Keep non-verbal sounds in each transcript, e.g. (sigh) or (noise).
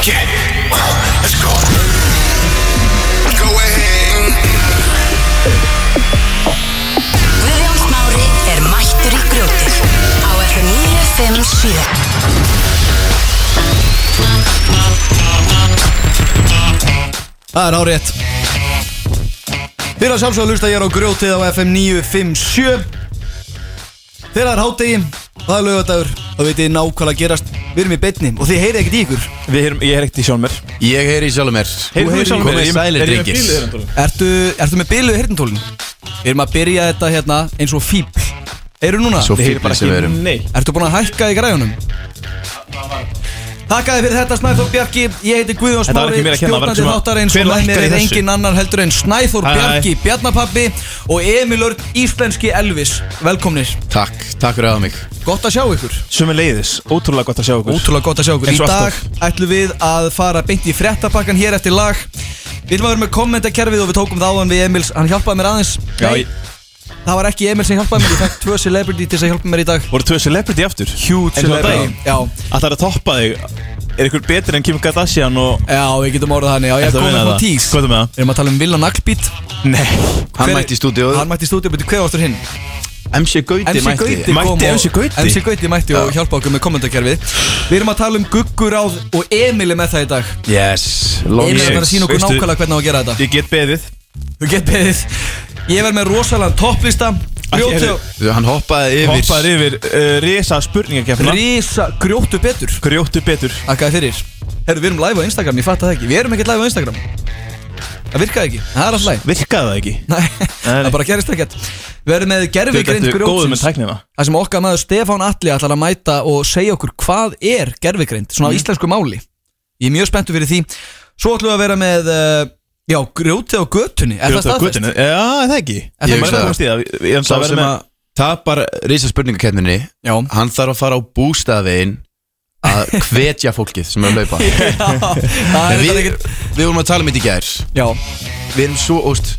Okay, let's go. Go ahead. Guðjón Smári er mættur í grjótið á FM 957 Það er árétt Þið er að sjálfsögðu að hlusta ég er á grjótið á FM 957 Þegar það er hátegi og það er lögadagur þá veit ég nákvæmlega að gerast Við erum í beinni og þið heyrið ekkert í ykkur Við heyrum, ég heyr ekkert í sjálfum mér Ég heyri í sjálfum mér Heyrðu heyrir í sjálfum mér? komið Ég- sælir, er ég með drengir. bílið hérna, Tóli? Ertu, ertu með byluðu hirtintólin? Við erum að byrja þetta hérna eins og fíbl Eru núna? Svo Ég heyri fíflin bara sem við erum ekki neitt Ertu búin að hækka í græjunum? Þakkaði fyrir þetta Snæþór Bjarki Ég heiti Guðjón Þetta var Smári, ekki mér að kenna, það var stjórnandi svona- þáttar eins hver og með mér lækkar í er þessu? engin annar heldur en Snæþór Hæ. Bjarki, Bjarnapappi og Emil Örn, íslenski Elvis Velkomnir, Takk, takk fyrir aða mig gott að sjá ykkur Sumi leiðis, ótrúlega gott að sjá okkur Ótrúlega gott að sjá ykkur Eins Í og dag alltaf. ætlum við að fara beint í fréttapakkan hér eftir lag Við ætlum að vera með kommentakerfið og við tókum það áðan við Emils Hann hjálpaði mér aðeins Já, Nei, ég- það var ekki Emil sem hjálpaði mér Ég fekk tvö celebrity til þess að hjálpa mér í dag Voru tvö celebrity aftur Huge Daginn. Já, Að það er að toppa þig Er ykkur betur en Kim Kardashian og já, við getum orðað þannig Já, ég Ertu að kom vinna með það? tís Hvað er með það? Við erum að tala um Villa Naglbít Nei Hann Hver- mætti í stúdíu Hann mætti í stúdíu, betur hver ástur hinn? MC Gauti MC mætti Gauti Mætti kom og- MC Gauti? MC Gauti mætti og hjálpa okkur með kommentarkerfið Við erum að tala um Gugguráð og Emil er með það í dag Yes, Emil er Yes. að sína okkur Veistu- nákvæmlega hvernig á að gera þetta Ég get beðið Þú get beðið Ég verð með rosalega topplista Grjótu heyrðu. Hann hoppaði yfir Hoppaði yfir uh, Risa spurningakefna Rísa grjótu betur Grjóttu betur Akkaði fyrir Herru, við erum live á Instagram, ég fatt það ekki Við erum ekkert live á Instagram Það virkaði ekki, það er alltaf læg Virkaði það ekki? Nei, Nei. það bara gerist ekkert Við erum með gerfigrind Þetta er góður grjótsins með tæknina Það sem okkar maður Stefán Atli ætlar að mæta og segja okkur hvað er gerfigreind, svona á Mhm. íslensku máli. Ég er mjög spenntu fyrir því. Svo ætlum við að vera með, uh, já, grjótið á götunni. Er Grjóttu á það staðfest? (laughs) götunni. Já, er það ekki það Ég ekki mæli það? komast í það Ég- ég- ég- Sá það verður sem með- að tapar Rísa spurningakenninni Já. Hann þarf að fara á bústafin Að hvetja fólkið sem er að laupa það við, er þetta ekkert. við vorum að tala um þetta í gær Já, Við erum svo, óst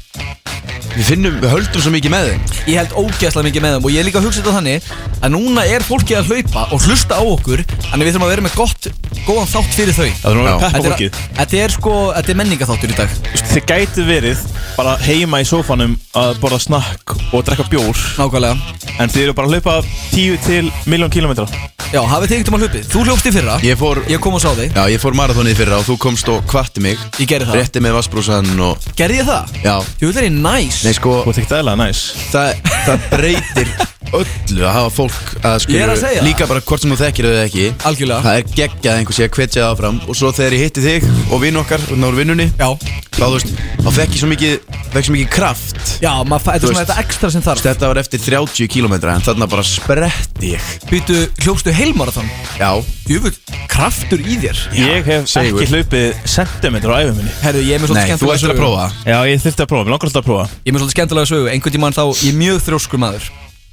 Við finnum, við höldum svo mikið með þeim ég held ógeðslega mikið með þeim og ég er líka að hugsa þetta þannig að núna er fólkið að hlaupa og hlusta á okkur, þannig við þurfum að vera með gott, góðan þátt fyrir þau. Það verður Já. að peppa Þetta fólkið er, þetta er sko, þetta er menningaþáttur í dag. Þið gæti verið bara heima í sófanum að borða snakk og drekka bjór Nákvæmlega. En þið eru bara að hlaupa 10 til miljón kílómetra Já, hafið þið einhvern tímann hlaupið? Þú hljópst í fyrra, Ég fór, ég kom og sá þig, já, ég fór marathonið í fyrra og þú komst og kvatti mig ég gerði það. Rétti með vassbrúsan og, Gerði ég það? já Jú, þetta er næs. Nei, sko, Þú ert ekkert aðlega næs það, það breytir öllu að hafa fólk að Ég er að segja skilur það. Líka bara hvort sem þú þekkir þau eða ekki Algjörlega. Það er geggjað að einhver sé að hvetja það áfram Og svo þegar ég hitti þig og vinn okkar og náður vinnunni Já, Þá þú veist, þá fekk ég svo mikið, fekk svo mikið kraft já, maður fæ- þetta Þú er svona veist- þetta ekstra sem þarf Þetta var eftir 30 km en þarna bara spretti ég Býtu, hljópstu heilmarathon Já, Jöfull, kraftur í þér Ég hef segur. ekki hlaupið sentimetra á æfum minni Herru, ég er með nei, svolítið þú skemmtilega ert að prófa það. Já, ég þurfti að prófa, mér langar alltaf að prófa Ég er með svolítið skemmtilega sögu Einhvern tímann þá, ég er mjög þrjóskur maður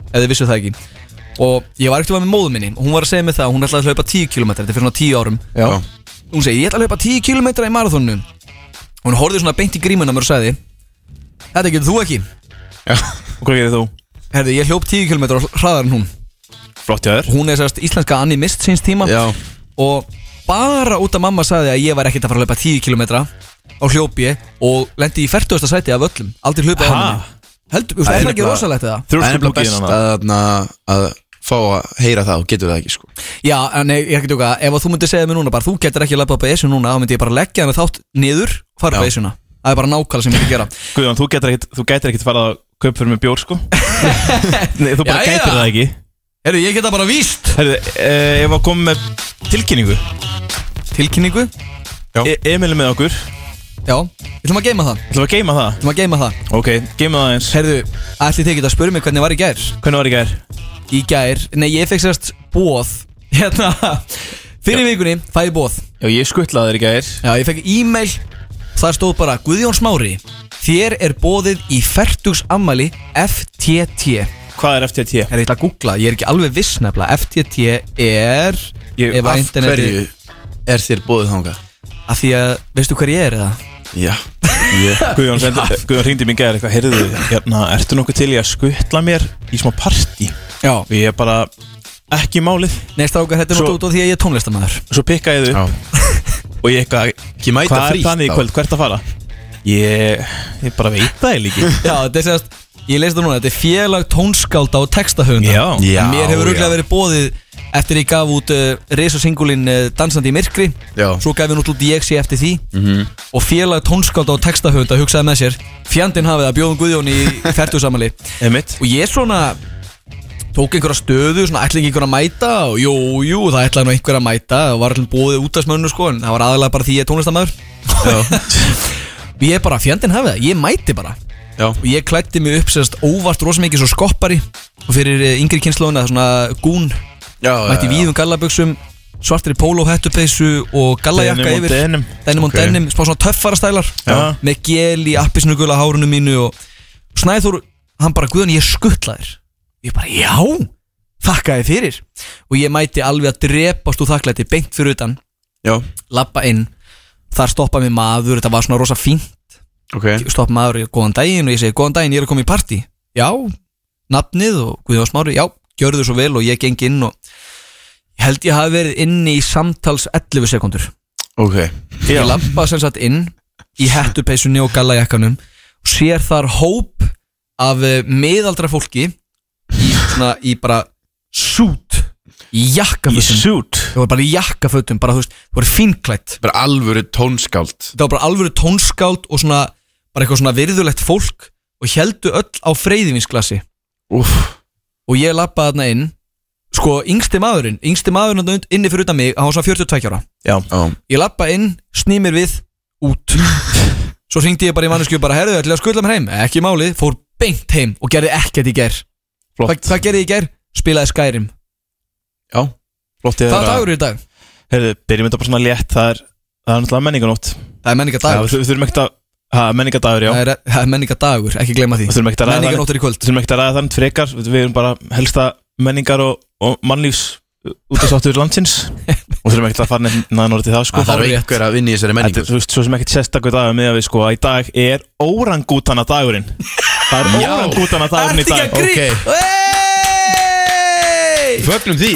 Ef þið vissu það ekki Og ég var ekkert tímann með móðu minni og Hún var að segja mig það, að hún ætlaði að hlaupa 10 km Þetta er fyrir svona 10 árum Já, Hún segi, ég ætla að hlaupa 10 km í marathonu Hún horfði svona beint í grímuna mér og sagði Þetta getur þú ekki Og hvað gerir þú? Herru, ég hljóp 10 km hraðar en hún Flott hjá þér Hún er sérst íslenska animist síns tíma já, og bara út af mamma sagði að ég var ekkert að fara að löpa 10 km á hljópi og lendi í 40. sæti af öllum aldrei hljópa á Ha? henni heldur, þú veist, Það er er það ekki nefnilega- rosalegt það? Það er Þrjósku bara blúkið best hérna að, þarna, að fá að heyra það og getur það ekki sko. Já, en nei, ég er ekki tjóka, ef að þú myndir segja mér núna bara, þú getur ekki að löpa upp að esju núna, þá myndi ég bara leggja henni þátt niður, fara upp að Já. esjuna það er bara nákvæmlega sem ég myndi gera Guðjón, þú gætir ekkert, þú gætir ekkert farað að kaup fyrir með bjór, (laughs) sko Nei, þú bara Jæja. gætir það ekki Herru, ég geta bara víst Herðu, eh, ég var komið með tilkynningu Tilkynningu? Já. e Emil er með okkur, Já, við ætlum að geima það, ætlum við að geima það? við ætlum að geima það Ok, geima það eins Herru, ætli þið geta að spura mig hvernig var í gær? Hvernig var í gær? Í gær, nei, ég fekk sérst bóð Hérna, fyrir vikunni fæ ég bóð Já, ég skuttlaði þér í gær Já, ég fekk e-mail Þar stóð bara Guðjón Smári Þér er bóðið í færtugs ammali FTT Er Hvað er FTT? ég ætla að googla, ég er ekki alveg viss nefnilega FTT er Ég- ef að Af interneti- hverju er þér bóðið þangað? Af því að, veistu hver ég er eða? Já, ég, Guðjón, sendi, Guðjón ringdi mér gæðir eitthvað, heyrðu, hérna, ertu nokkuð til í að skuttla mér í smá partí? Já Og ég er bara ekki málið, Nei, strákar, þetta er Svo- náttúrulega út af því að ég er tónlistamæður svo pikka ég þau upp, Og ég eitthvað Ekki mæta Hvað er frítt planið í þá?" kvöld, hvert að fara? Ég, ég bara veit það ég líki (laughs) Já, þetta er sérst, ég leysi það núna, þetta er félag tónskálda og textahöfunda Já. Já, Mér hefur auðvitað já. verið bóðið eftir ég gaf út uh, risasingulinn uh, Dansandi í myrkri Já. Mhm. Svo gaf ég nút út ég sé eftir því -hmm. Og félag tónskálda og textahöfunda hugsaði með sér Fjandinn hafið að bjóðum Guðjón í færtusamali Einmitt Og ég svona tók einhverja stöðu, svona ætlaði ekki einhver að mæta og jú, jú, það ætlaði nú einhver að mæta og var allir bóðið út af smönu sko en það var aðalega bara því ég er tónlistamæður (laughs) Ég bara, fjandinn hafið það, ég mæti bara Já. og ég klætti mig upp sérst óvart rosa mikið svo skoppari og fyrir eh, yngri kynnslóðina svona gún Já, mætti já, já. víðum gallaböksum svartri póló hettupeysu og gallajakka Denim og yfir denim. denim og Ok. denim, smá svona töffara stælar Já. með gel í appisnugula hárunu mínu og Snæður, hann bara guðan ég skuttla þér ég bara já, þakka þér fyrir og ég mætti alveg að drepast úr þakklæti beint fyrir utan, Já, labba inn þar stoppa mig maður, þetta var svona rosa fín ok stopp maður, ég, góðan daginn og ég segi góðan daginn, ég er að koma í partí já, nafnið og Guðjón Smári já, gjörðu svo vel og ég geng inn og ég held ég hafi verið inni í samtals 11 sekundur Ok Já. ég lampa sem sagt inn í hettupeysunni og gallajakkanum og sér þar hóp af eh, miðaldra fólki í, svona, í bara sút í Í jakkafötum suit það voru bara í jakkafötum, bara þú veist, það voru fínklætt Bara alvöru tónskáld þetta var bara alvöru tónskáld og svona bara eitthvað svona virðulegt fólk og heldu öll á freyðivinsklasi Úf og ég lappaði þarna inn sko yngsti maðurinn, yngsti maðurinn þarna und- inni fyrir utan mig, hann var svona 42 ára Já Já, ég lappa inn, sný mér við, út (laughs) svo hringdi ég bara í manneskju bara herðu, ætlaði að skutla mér heim, ekki máli fór beint heim og gerði ekkert í ger Hva, flott hvað gerði ég í ger? Spilaði Skyrim Já, flott ég það er dagur í dag, Herðu, byrjum þetta bara svona létt Það er, það er náttúrulega menninganótt það er menninga Já, dagur Við við þurfum ekkert að Ha, menningadagur, já það er, það er menninga dagur, ekki gleyma því Við þurfum ekkert að ræða það- menninganóttir í kvöld Við þurfum ekkert að ræða þannig frekar Við við erum bara helsta menningar og, og mannlífs út af sáttur landsins Og þurfum ekkert að fara nefna orðið það sko Það þarf Hárrétt. einhver að vinna í þessari Þetta menningu er, þú veist, svo sem ekkert sérstakur dag með að við sko að í dag er órangútana dagurinn Það er Já. órangútana dagurinn í Ertu ekki dag að grínast? Hey! Fögnum því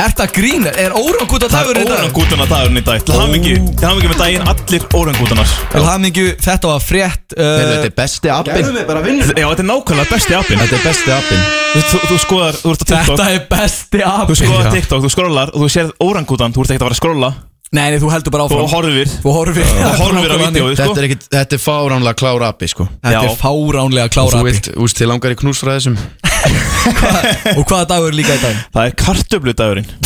Ertu að grínast? Er órangúta Það dagur í er dag? órangútana dagurinn í dag Til hamingju, til hamingju með daginn allir órangútanar Til hamingju, þetta var frétt Heyrðu, uh, Þetta er besti appin Já, þetta er nákvæmlega besti appin Þetta er besti appin Þú, þú, þú skoðar, þú ert á TikTok Þetta er besti Þú appin skoðar Já. TikTok, þú scrollar og þú sér órangútan Þú ert ekkert að fara að scrolla Nei, nei, þú heldur bara Þú áfram horfir Þú horfir Þú horfir á vídeoið sko Þetta er ekkit, þetta er fáránlega klár appi sko Þetta Já. er fáránlega klára Þú appi vilt, þú veist, þið langar í knús frá þessum (laughs) Og hvaða dagur er líka (laughs) í dag? Það er kartöflu dagurinn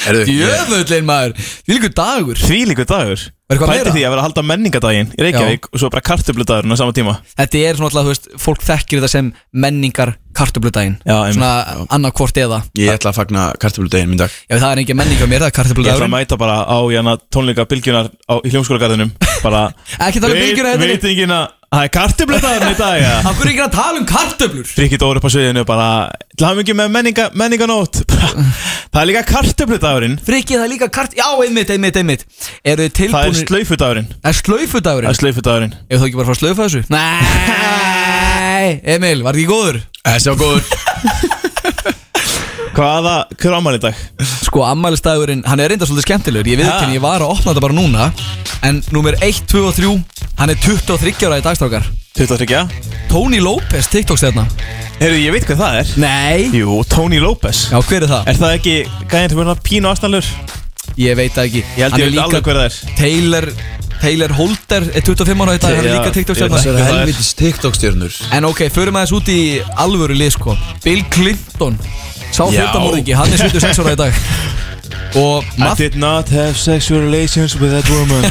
Erðu, Jöfullin maður Því líka dagur Því líku dagur Er eitthvað Bæti meira? því að vera að halda menningadaginn í Reykjavík og svo bara kartöflu dagurinn á sama tíma Þetta er svona alltaf, þú veist, fólk þekkir þetta sem menningar kartöbludaginn Já, einmitt. Svona annarkvort eða Ég ætla að fagna kartöfludegin minn dag Já, það er engin menning á mér, það er Ég ætla að kartöbludagurinn mæta bara á jana, tónleika bylgjunar á, í hljómskólagarðinum bara (laughs) Ekki tala um bylgjuna Veit- hérna Veit enginn að Það er kartöflutaðurinn í dag ja. (laughs) Af hverju er ekki að tala um kartöblur? Rikki Dóri upp á sviðinu bara Til hafum ekki með menninga, menninganót (laughs) Bara, Það er líka kartöflutaðurinn Frikki, það er líka kart... Já, einmitt, einmitt, einmitt Eru þið Það er tilbúinir... slaufudagurinn Það er Það slöifudagurinn er slaufudagurinn Ef þú ekki bara að fara að slöifa þessu? Nei Emil, var ekki góður? Þessi á (laughs) góður Hvaða, hver ámæli í dag? Sko, ammælistagurinn, hann er reynda svolítið skemmtilegur Ég veit ekki, ég var að opna þetta bara núna En númer 1, 2 og 3 Hann er 23 ára í dagstrákar 23 Tony Lopez, TikTok stefna Heyrðu, ég veit hvað það er Nei Jú, Tony López Já, hver er það? Er það ekki gæðin sem er svona pínu aðstæðanlegur? Ég veit það ekki Ég held Hann ég er veit alveg hver það er Taylor, Taylor Holder er 25 ára í dag Hann er Já, líka TikTok ég veit stefna það. er- TikTok-stjörnur En ok, förum aðeins út í alvöru lið sko Bill Clinton Sá Já. fjöldamorðingi, hann er 76 ára í dag Og I Matt, did not have sexual relations with that woman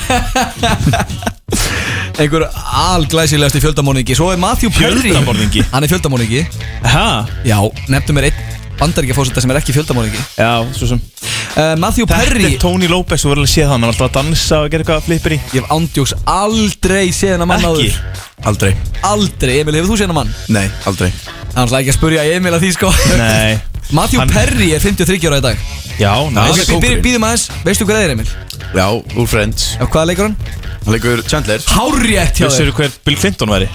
einhver alglæsilegasti fjöldamorðingi Svo er Matthew Perry Fjöldamorðingi? Hann er fjöldamorðingi Ha? Já, nefndu mér einn bandaríkja fósita sem er ekki fjöldamorðingi Já, svo sem uh, Matthew Þetta Perry er Tony Lopez, þú verður alveg að sé það, hann er alltaf að dansa og gera eitthvað flippir í Ég hef ándjóks aldrei séð hennar mann Ekki? áður Aldrei Aldrei, Emil, hefur þú séð hennar mann? Nei, aldrei Það er náttúrulega ekki að spurja Emil að því sko Nei (laughs) Matthew Hann- Perry er 53 ára í dag Já, Hann er næs Ok, kóngurinn. býðum aðeins, veistu hvað það er Emil? Já, úr Friends Já, Hvaða leikur hann? Hann leikur Chandler Hárrétt hjá þér Vissur þú hver Bill Clinton væri?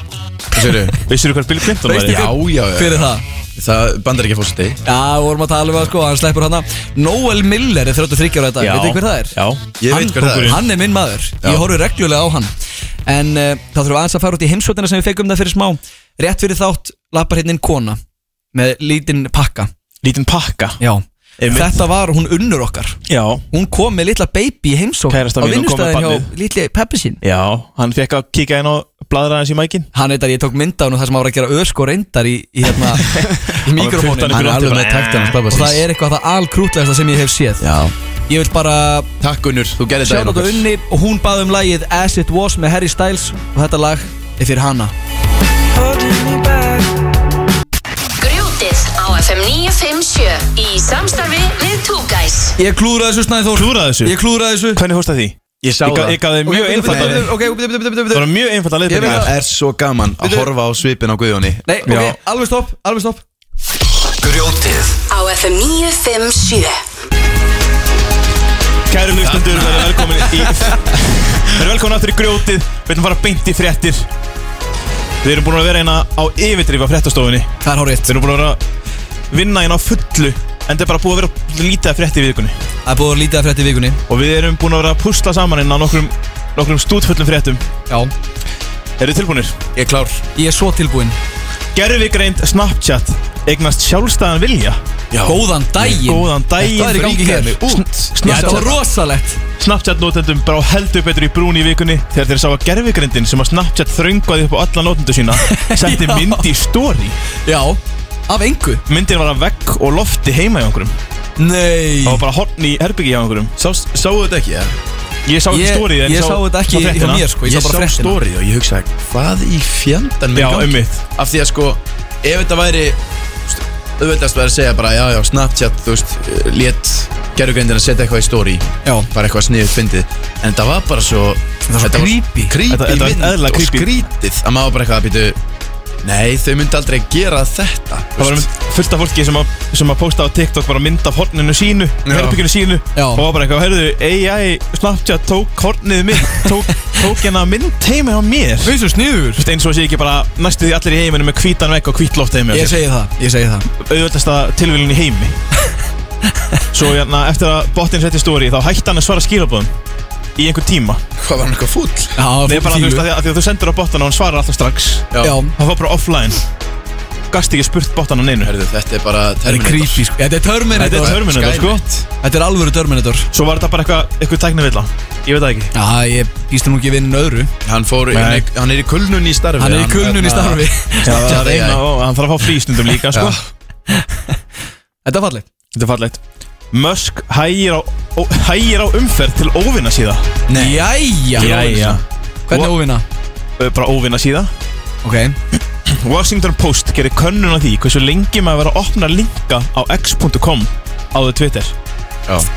Hvað segirðu? Vissur þú hver Bill Clinton Veistu væri? Já, já, já Hver er það? Það bandar ekki fórstu Já, við vorum að tala um það sko, hann sleppur hana Noel Miller er 33 ára þetta, veitir hver það er? Já, Ég hann, veit hver það er hann er minn maður, ég horfi reglulega á hann En uh, þá þurfum við aðeins að fara út í heimsóttina sem við fegum það fyrir smá Rétt fyrir þátt lappar hérna inn kona Með lítinn pakka lítinn pakka Já Einmitt. Þetta var hún unnur okkar Já, Hún kom með litla baby í heimsókn Kærasta Á mín, hún kom með vinnustæðin barnið. hjá litli peppi sín já, hann fekk að kíka inn og bladra aðeins í mækin Hann eitthvað, ég tók mynd á hann og það sem hann var að gera ösk og reyndar í, í, (laughs) hérna, í mikrofónin Hann er alveg með taktan hans pappa Og það er eitthvað það alkrútlegasta sem ég hef séð Já Ég vil bara Takk Unnur, þú gerði Sjátt á unni og hún baði um lagið As It Was með Harry Styles og þetta lag er fyrir hana Grjótið á FM 957 í samstarfi við Two Guys Ég klúra þessu Snæði Þór Klúðraði þessu? Ég klúra þessu Hvernig hóstaði því? Ég sá Ég gaf- það Ég gaf þið mjög einfalda Nei, Það Ok, bitu, bitu, bitu, bitu var mjög einfalda Ég veit leiðbendingar Það er svo gaman að horfa á svipin á Guðjóni Nei, Já. ok, alveg stopp, alveg stopp Grjótið á FM 957 Kæru hlustendur, verið velkomin í Verið velkomin aftur í grjótið Við erum bara beint í fréttir Við erum búin að vera hérna á yfirdrif á fréttastofunni Við Það er hárið erum búin að vera að vinna hérna á fullu En þetta er bara búið að vera lítið af frétti í vikunni Það er búið að lítið að frétti í vikunni Og við erum búin að vera að pusla saman hérna á nokkrum, nokkrum stútfullum fréttum Já Eru þið tilbúinir? Ég er klár Ég er svo tilbúinn Gervigreind Snapchat eignast sjálfstæðan vilja Góðan daginn Góðan daginn Hvað er í gangi fríkaði hér? mig út. Sn- Já, Þetta er rosalegt Snapchat notendum brá heldur betur í brún í vikunni þegar þeir sá að gervigrindin sem að Snapchat þröngaði upp á alla notendu sína setti (laughs) Já. mynd í story Já Af engu myndin var að vegg og lofti heima hjá einhverjum það Nei var bara horn í herbyggi hjá einhverjum Sáu þetta ekki, eða? ég sá ekki Ég- story en ég sá þetta ekki hjá fréttina. mér, sko. Ég sá Ég bara sá fréttina. story og ég hugsaði Hvað í fjandann já, ummitt Af því að sko Ef þetta væri st- Auðveldast væri að segja bara Já, já, Snapchat, þú veist Lét gerðugöndin að setja eitthvað í story Já Bara eitthvað sniðið fyndið En þetta var bara svo var svo creepy. Þetta- Creepy þetta var mynd eðlilega og creepy. skrítið Að maður bara eitthvað að býtu Nei, þau myndi aldrei gera þetta það var einmitt fullt af fólki sem að, sem að posta á TikTok bara mynd af horninu sínu Já. herbygginu sínu Já. og var bara eitthvað heyrðu, AI Snapchat tók hornið mitt (laughs) tók, tók hérna mynd heima hjá mér þú Veistu sniður veist eins og sé ekki bara næstu því allir í heiminu með hvítan vegg og hvít loft heima hjá Ég sér. segi það Ég segi það auðvöldasta tilvílun í heimi Svo hérna, eftir að botinn setti stóri þá hætti hann að svara skilabóðum í einhvern tíma Hvað var hann eitthvað fúll? Já, Nei, bara þú fílu. veist að því að, því að þú sendur á bottan og hann svarar alltaf strax Já Það var bara offline Gast ekki spurt bottan á neinu Herðu, þetta er bara Þetta er Terminator creepy sko. Þetta er Terminator Þetta er Terminator, sko Skynet. Þetta er alvöru Terminator Svo var þetta bara eitthvað, eitthvað tæknivilla Ég veit það ekki Já, ég býst nú ekki við vinna öðru Hann fór, Nei. hann er, hann er í kulnun í starfi Hann Hérna- er í kulnun í starfi (laughs) Já, það Snapchat er eina og hann þarf að fá frístundum líka, sko Já. Þetta er fallið Þetta er fallegt Musk hægir á, ó, hægir á umferð til óvinna síða Jæja Hvernig óvinna? Ö, eh, Bara óvinna síða Ok Washington Post gerir könnun á því hversu lengi maður verið að opna linka á x.com áður Twitter. Já,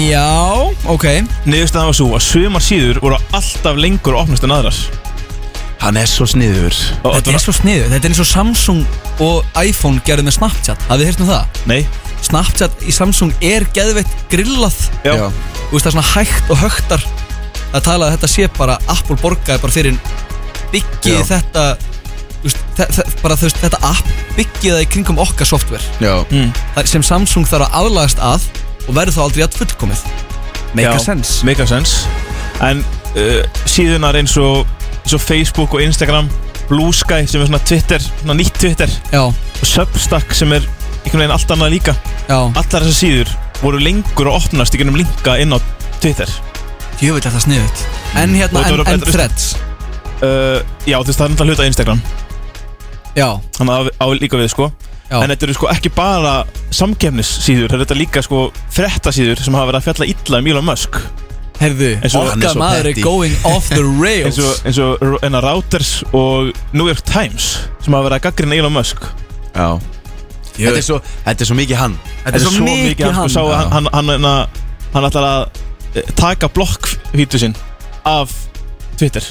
Já, ok Niðurstaðan var svo að sumar síður voru alltaf lengur að opnast en aðrar. hann er svo sniður Og Þetta er svo sniðu Þetta er eins og Samsung og iPhone gerði með Snapchat Hafið þið heyrt um það? Nei, Snapchat í Samsung er geðveitt grillað já. Já. Þú veist það er svona hægt og högtar að tala að þetta sé bara Apple borgaði bara fyrir byggið Já. þetta þú veist, þe þe bara þú veist þetta app byggið það í kringum okkar software Já, Það er sem Samsung þarf að aðlagast að og verður þá aldrei jætt fullkomið Make a Já, sense Make a sense. En uh, síðunar eins og, eins og Facebook og Instagram, Blue Sky sem er svona Twitter, svona nýtt Twitter, Já, og Substack sem er einhvern veginn allt annað líka. já Allar þessar síður voru lengur að opnast í gennum linka inn á Twitter. Jöfull er það sniðut En Og hérna, þetta en, verður en betra- threads Uh, já, þú veist það er náttúrulega hluta af Instagram. Já, Þannig að á líka við sko já En þetta eru sko ekki bara samkefnissíður Þetta er líka sko frettasíður sem hafa verið að fjalla illa um Elon Musk Herðu, eins og- hann er okkar svo maður er petty. going off (laughs) the rails eins og, eins og enna Routers og New York Times sem hafa verið að gaggrina Elon Musk já Þetta er svo, þetta er svo mikið hann Þetta er svo mikið hann, hann sko, sá, að Já. hann, hann, hann, hann, hann ætlar að eh, taka blokkvítu sinn af Twitter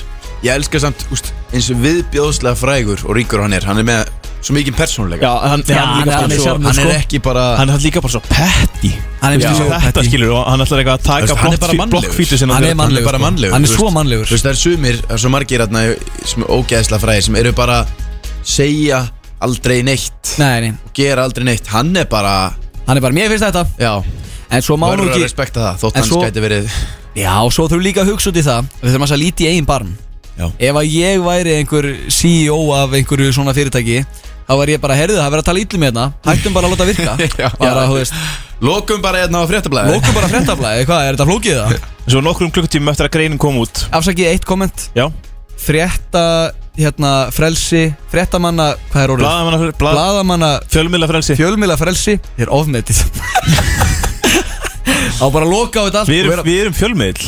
Ég elska samt, úst, eins og viðbjóðslega frægur og ríkur hann er Hann er með svo mikið persónuleika hann, Já, hann er- líka hann er bara svo sjarmör, Hann sko. er ekki bara Hann er líka bara svo petty Hann er Þú veist, mjög Þetta petty. skilur og hann ætlar eitthvað að Þú veist, hann er bara taka mannlegur. blokkvítu sinn Hann er hann er bara mannlegur sko. mannlegur Hann er þú svo veist. mannlegur Þú veist, það er sumir, það er svo margir þarna sem er ógeðslega fræðir sem eru bara segja aldrei neitt Nei, nei, og gera aldrei neitt Hann er bara, hann er bara, mér finnst þetta já, En svo má nú verður að ekki respekta það Þótt En hans svo- gæti verið Já, og svo þurfum við líka að hugsa út í það Við þurfum að það líti í eigin barm Já. Ef að ég væri einhver CEO af einhverju svona fyrirtæki Þá væri ég bara, herðu það, verður að tala ítlum hérna Hættum bara að láta virka (laughs) Já. Bara, þú veist, Lokum bara hérna á fréttablaði lókum bara fréttablaði Hvað, er þetta flókið (laughs) það? Svo nokkrum klukkutímum eftir að greinin kom út Afsakið eitt komment Já, Frétta, hérna, frelsi Fréttamanna, hvað er orðið? blaðamanna, blað, Blaðamanna, fjölmiðla frelsi fjölmila frelsi Er (laughs) ofmetið Á bara að loka á þetta allt Við og erum, vera- við erum fjölmiðl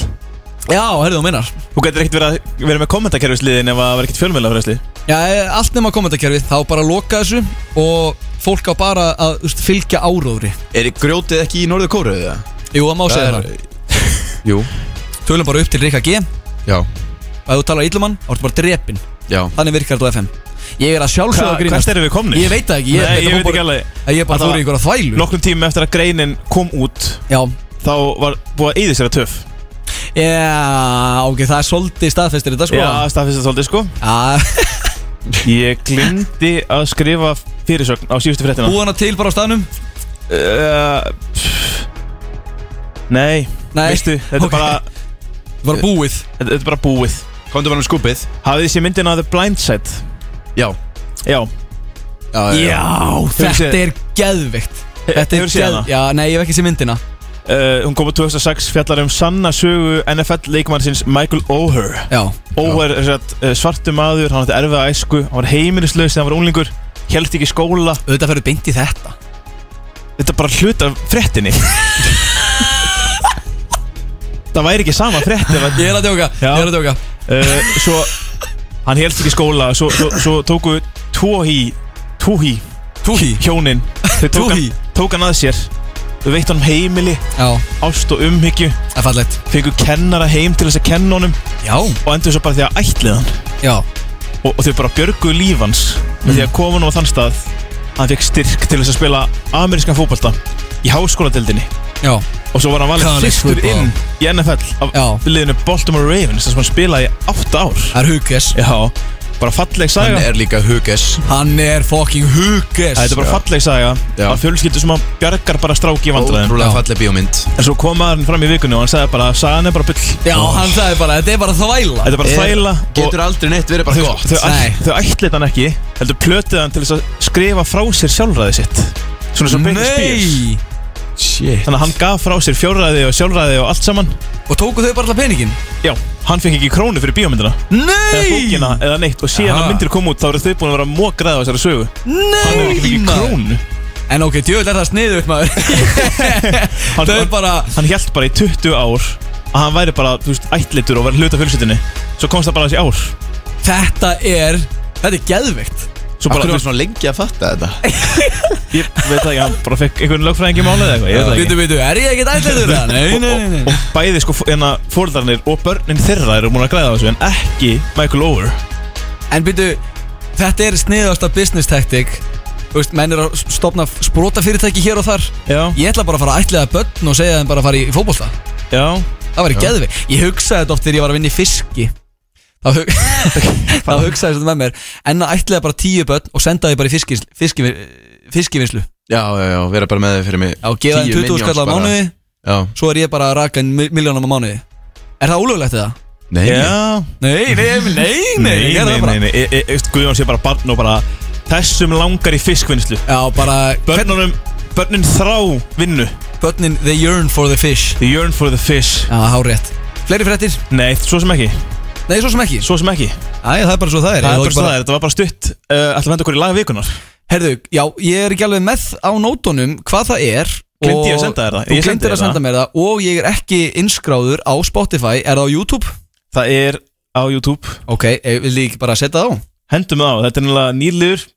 Já, herðu þú minnar Þú getur ekkert verið, að- verið með kommentarkerfisliðin ef það var ekkert fjölmiðla frelsli Já, eh, allt nema kommentarkerfið, þá bara loka þessu og fólk á bara að þú veist, fylgja áróðri Er grjótið ekki í norðu kóru eða? Jú, það má segja Það það er- Jú, Tölum bara upp til Rikka G og já, ef þú talar íllumann, þá ertu bara drepin já Þannig virkar þetta á FM Ég er að sjálfsögða að Hvert grínast erum við komnir? Ég veit það ekki, ég, Nei, þetta ég fór veit bara- ekki alveg að ég er bara Þetta- fór í einhverja þvælu Nokkrum tímum eftir að greinin kom út Já, Þá var búið að eyði sér að töf Já, ok, það er svolítið staðfestir þetta sko Já, staðfist það svolítið sko Já, (laughs) Ég glimti að skrifa fyrirsögn á síðustu fréttina Búið hana til bara á staðnum uh, Nei, Nei, veistu, þetta, ok. er bara, þetta var búið þetta, þetta er bara búið Komdu bara um skúpið Hafið þið sé myndina The Blind Side? Já, Já, já, Já, séð- þetta er geðvikt Þetta er Hefurðu séð hana? Já, nei, ég hef ekki séð myndina uh, hún kom á 2006 fjallar um sanna sögu NFL leikmannsins Michael O'Hare Já, O'Hare er satt, uh, svartu maður, hann átti erfið að æsku hann var heimilislaus þegar hann var unglingur held ekki í skóla, auðvitað ferðu beint í þetta þetta er bara hlut af (laughs) fréttinni Það væri ekki sama frétt ef að Ég er að djóka, Já. ég er að djóka uh, Svo, hann held ekki í skóla svo, svo, svo tóku tóhi tóhi, Túhi hjónin þau tók hann, Tóhi. tók hann að sér þau veitt hann heimili, Já, ást og umhyggju það er fallegt fengu kennara heim til þess að kenna honum Já, og endur svo bara því að ætlið hann já, og, og þau bara björguðu líf hans með Mm. því að koma hann á þann stað að hann fekk styrk til þess að spila amerískan fótbalta í háskóladeildinni já og svo var hann valið College fyrstur football. inn í NFL af Já. liðinu Baltimore Ravens þar sem hann spilaði í 8 ár Það er hugges Já, bara falleg Hann saga er líka huges Hann er fucking hugges Það er bara falleg saga Já. að fjölskyldu sem hann bjargar bara stráki í vandræðin Ótrúlega Já. falleg bíómynd en svo kom maðurinn fram í vikunni og hann sagði bara að sagan er bara bull Já, hann sagði bara, þetta er bara þvæla Þetta er bara Er- þvæla og- Eh, Getur aldrei neitt verið bara Þau, gott þau, Nei. ætl, þau ætlit hann ekki heldur plötið hann til þess að skrifa frá sér sjálfræði sitt svona sem Britney Spears Nei Shit þannig að hann gaf frá sér fjárræði og sjálfræði og allt saman Og tóku þau bara alltaf peningin já, hann fekk ekki krónu fyrir bíómyndina eða bókina Nei eða neitt og síðan Aha. að myndir kom út þá eru þau búin að vera mókraði á þessari sögu hann hefur ekki Nei fengið maður. krónu En ok, djöðlega er það sniðugt maður hann, Þau er bara hann held bara í 20 ár að hann væri bara, þú veist, ætlitur og verið hluta fjölskyldinni svo komst það bara þessi ár Þetta er Þetta er geðveikt svo bara, Akkur þú var veist, svona lengi að fatta þetta ég veit það ekki hann bara fekk einhvern lögfræðingi málið eða eitthvað, ég veit það ekki Býtu, býtu, er ég ekkert ætlaður það? Nei, nei, nei, nei og bæði sko hérna fóreldarnir og börnin þeirra eru múin að græða á þessu en ekki Michael Over En býtu, þetta er sniðasta business tactic Þú veist, menn er að stopna sprota fyrirtæki hér og þar já, Ég ætla bara að fara að ætlaða börn og segja þeim bara að fara í fótbolta já Það væri geðvig Ég hugsaði þetta oft þegar ég var að vinna í fiski Þá, hug... (laughs) þá hugsaði þetta með mér En að ætlaði bara tíu börn og senda þau bara í fiski, fiski, fiskivinslu Já, já, já, vera bara með þau fyrir mig Já, gefa þeim Tíu 20 minions skall á bara. mánuði Já, Svo er ég bara að raka en miljónum á mánuði Er það ólöglegt eða? nei já, Nei, nei, nei, nei, nei, nei, ég gerði nei, það bara. nei, nei. E, e, e, Guðjón sé bara barn og bara þessum langar í fiskvinnslu Já, bara börnunum, börnin þrá vinnu Börnin, they yearn for the fish they yearn for the fish Já, hárétt Fleiri fréttir? nei, svo sem ekki, Nei, svo sem ekki svo sem ekki Æ, það er bara svo það er Ég það ekki er bara staðar, þetta var bara stutt uh, ætlum að henda okkur í laga vikunar Herðu, já, ég er ekki alveg með á nótunum hvað það er Gleymdi ég að og- senda þér það? Þú Ég sendi glindir þér að senda það. mér það Og ég er ekki innskráður á Spotify Er það á YouTube? það er á YouTube Ok, eh, vil ég ekki bara setja það á? hendum það á, þetta er náttúrulega nýrliður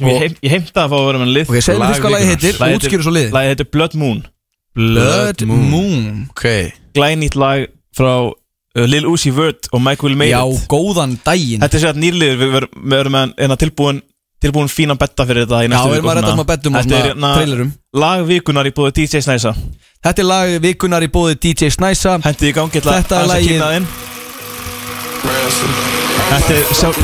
Og- ég, heim, ég heimta að fá að vera með lið Ok, segðu mér fyrst hvað lagið heitir Lagið og útskýru svo liðið lagið heitir Blood Moon Blood Moon Ok glænýtt lag frá uh, Lil Uzi Vert og Mike Will Made Já, It góðan daginn Þetta er sér að nýrliður, við verum, við verum með hérna tilbúin tilbúin fínan betta fyrir þetta í Já, næstu við erum að og redda svona. um að bettum og Þetta er svona hérna trailerum lagvíkunar í búið DJ Snæsa Þetta er lag vikunar í bóði DJ Snæsa Hendið í gangi til Þetta er lagið. inn Þetta er sjálf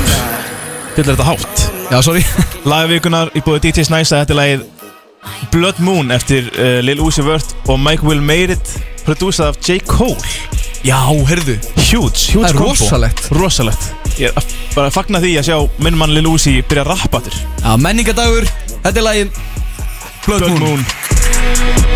Þetta er þetta hátt Já, (laughs) sorry Lagavikunar í búið DJ Snæsa Þetta er lagið Blood Moon eftir uh, Lil Uzi Vert og Mike Will Made It Produced af J. Cole Já, heyrðu Huge, huge Það er combo. rosalegt. Rosalegt Ég er að- bara að fagna því að sjá minn mann Lil Uzi byrja að rappa þér Já, menningadagur, þetta er lagið Blood, Blood Moon. Moon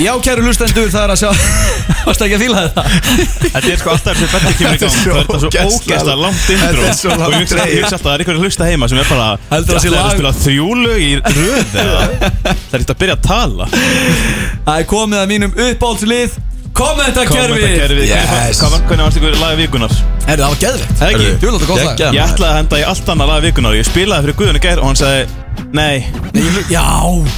Já, kæru hlustendur, það er að sjá (laughs) Varst ekki að fíla þetta? Þetta er sko alltaf þessi bendi kemur í gang Þetta er svo ógeðslega- Það er þetta svo ógæsla langt intro Þetta er svo langt Og ég hugsa ég hugsa alltaf að það er einhverju hlusta heima sem er bara Heldur það sé "Þetta er lag?" að spila þrjúlög í röð eða Það er ekkert að byrja að tala Það er komið að mínum uppáhaldslið Kommentakerfi Kommentar, Herru, kerfi, Yes. hvernig fannst- hvað var- Hvernig varst ykkur laga vikunar? það var geðvegt Það ekki? Heyrðu, Djúlega gott lag. geggjað, Ég maður. ætlaði að henda í allt annað laga vikunar Ég spilaði fyrir Guðun í gær og hann sagði Nei, Já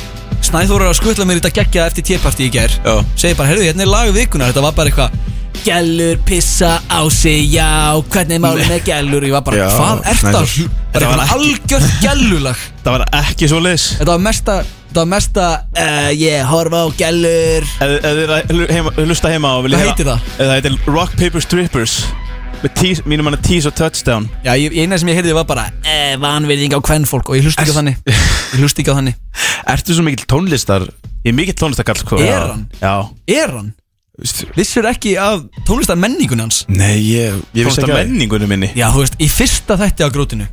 Snæþór er að skutla mér í þetta geggja eftir tépparti í gær Já. Segir bara, herru, hérna er lagu vikunar Þetta var bara eitthvað Gellur pissa á sig, já Hvernig er málið með gellur Ég var bara, Já, hvað ert Snæþór. það? Þetta var var ekki- algjört gellulag það var ekki svo leis Þetta var mesta Þetta var mesta uh, Ég horfa á gellur Ef ef þið er að hlu- heima- hlusta heima og vilja Hvað heyra- heitir það? Eh, Það heitir Rock Paper Strippers Með tease- Mínum hann er Tease og Touchdown Já, ég, eina sem ég heyrði var bara eh, Vanverðing á kvennfólk Og ég hlusti ekki á þannig Ég hlusti ekki á þannig Ertu svo mikill tónlistar Ég er mikill tónlistakall sko Er hann? Já Er hann? Vissur ekki af tónlistar menningun hans? Nei, ég, ég vissi Tónlistar ekki að menningunum minni Já, þú veist, í fyrsta þætti á grótinu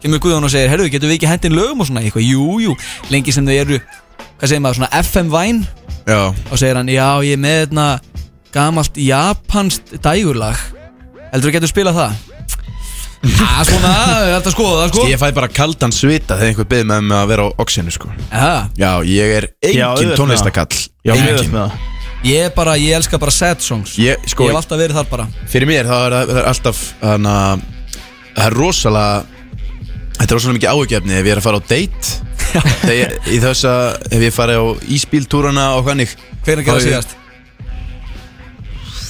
Kemur Guðjón og segir, herru, getum við ekki hendin lögum og svona eitthvað Jú, jú, lengi sem þau eru Hvað segir maður, svona FM Vine Já, Og segir hann, já, ég er með þarna Gamalt japanskt dægurlag Heldur þú getur spilað (laughs) það? Já, svona, það er alltaf skoða það, sko ég fæ bara kaldan svita þegar einhver byrði með mig um að vera á oxinu sko Já, Já, ég er Já, auðvitað engin með tónlistakall Já, Engin. miðast með það ég er bara, ég elska bara sad songs Ég, sko, Ég hef alltaf verið þar bara fyrir mér þá er það það er alltaf hana, það er rosalega þetta er rosalega mikið áhugjefni ef ég er að fara á date þegar ég, í þess að ef ég farið á ísbíltúrana og hannig Hvernig gerða síðast?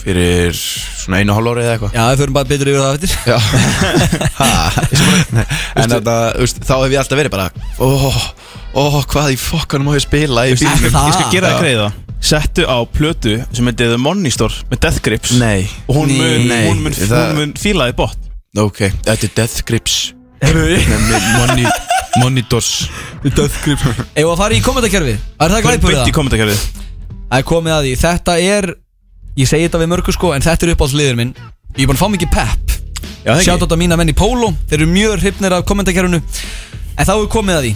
fyrir svona einu og hálf árið eða eitthvað Já, við förum bara betur yfir það eftir (laughs) Já (laughs) Ha, ég sem bara- (laughs) En þetta, þú veist, þá hef ég alltaf verið bara Ó, ó, hvað í fokkanum má ég spila í Ég bílnum það- skal gera það Já. greiða Settu á plötu sem heitir The Money Store með Death Grips Nei, Og hún mun, Nei. hún mun, Það- hún mun fíla þið bótt ok, þetta er Death Grips Nefnir Moni, Monitors Döðgrip Ef að fara í kommentarkerfi Er það glæpur Beitt í það? kommentarkerfið Það er komið að því Þetta er Ég segi þetta við mörgu sko En þetta er uppáhaldsliður minn Ég er búin að fá mikið pepp Já, það Sjátt á mína menn í Pólo Þeir eru mjög hrifnir af kommentarkerfinu En þá er komið að því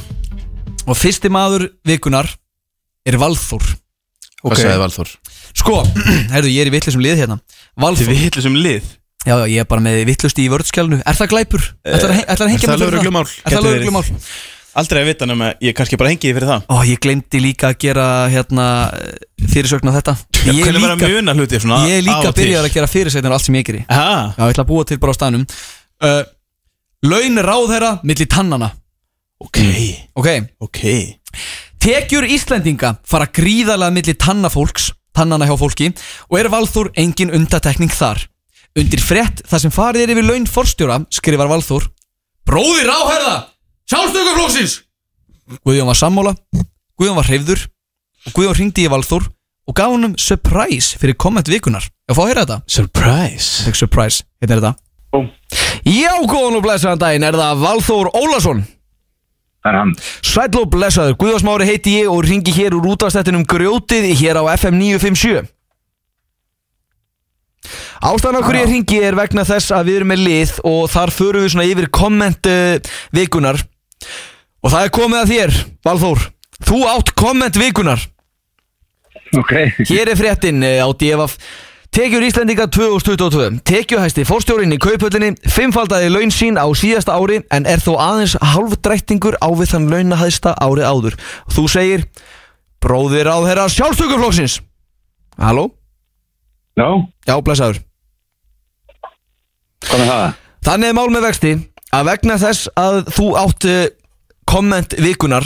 Og fyrsti maður vikunar Er Valþór Hvað sagði Valþór? Sko, (clears throat) herðu, ég er í vittlisum lið hérna Þið Valþór við hitlu sem lið Já, já, ég er bara með vittlusti í vörðskjálnu Er það glæpur? Ætlar að hengja það mig fyrir lögreglumál? Er það Gæti verið. lögreglumál? Aldrei að vita nema ég kannski bara hengi því fyrir það Ó, ég glemdi líka að gera hérna fyrirsögn á þetta Ég Ég er kunni bara líka, muna hluti svona ég er líka af og til. byrjar að gera fyrirsögnir á allt sem ég geri Ha? Já, ég ætla að búa til bara á staðnum uh, Laun ráðherra milli tannana Ok, Ok, ok tekjur Íslendinga fara gríðarlega milli tannafólks tannana hjá fólki og er Valþór engin undatekning þar Undir frett þar sem farið er yfir laun forstjóra skrifar Valþór Bróðir ráðherra, sjálfstökuflóksins Guðjón var sammála Guðjón var hreyfður og Guðjón ringdi í Valþór og gaf honum surprise fyrir komment vikunar Ég fá að heyra þetta Surprise Tech Surprise, hérna er þetta Búm Já, góðan og blessaðan daginn, er það Valþór Ólason? Það er hann. Sæll og blessaður, Guðvarsmári heiti ég og ringi hér úr útastættinum Grjótið hér á FM 957 Ástæðan okkur ég ringi er vegna þess að við erum með lið og þar förum við svona yfir komment uh, vikunar og það er komið að þér, Valþór Þú átt komment vikunar Ok. Hér er fréttin eh, á DFF Tekjur Íslendinga 2022 Tekjuhæsti fórstjórin í kaupöllinni Fimmfaldaði laun sín á síðasta ári En er þó aðeins halvdrættingur á við þann launahæsta árið áður Þú segir Bróðir á þeirra sjálfstökuflokksins Halló? Já, Já, blessaður hvað með það? Þannig er mál með vexti að vegna þess að þú átt eh, komment vikunar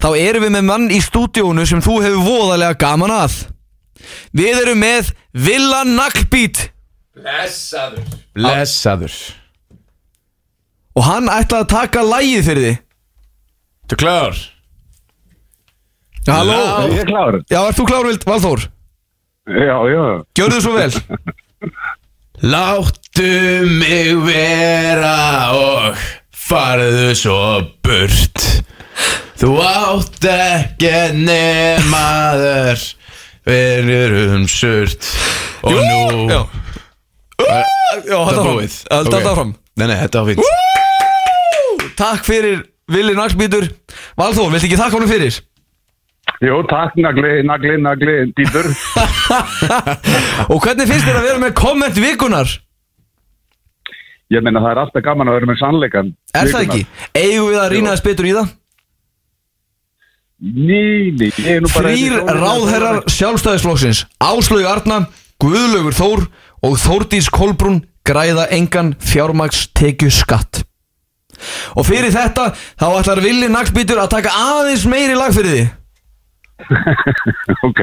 þá erum við með mann í stúdíónu sem þú hefur voðalega gaman að Við erum með Villa Nackbeat Blessaður og hann ætlaði að taka lægið fyrir því Þú klár Já, Halló, Ég er klár. já, ert þú klárvild, Valþór? Já, já. Gjörðu svo vel Láttu mig vera og farðu svo burt Þú átt ekki nemaður verður um surt Og nú Já, Það já halda er áfram búið Ok. Halda okay. áfram Nei, nei, þetta var fínt Takk fyrir Vili Nagsbítur Valþór, viltu ekki þakka honum fyrir? (laughs) Jó, takk, nagli, nagli, nagli, dýpur. Og hvernig finnst þér að vera með komment vikunar? Ég meina, það er alltaf gaman að vera með sannleikan. Er það ekki? Eigum við að rýna þess betur í það? Ný, ný, ég er nú bara... Þrýr ráðherrar sjálfstæðisflokksins Áslögu Arna, Guðlaugur Þór og Þórdís Kolbrún græða engan fjármagstekju skatt Og fyrir þetta þá ætlar Vili Nagsbítur að taka aðeins meiri lag fyrir því Ok.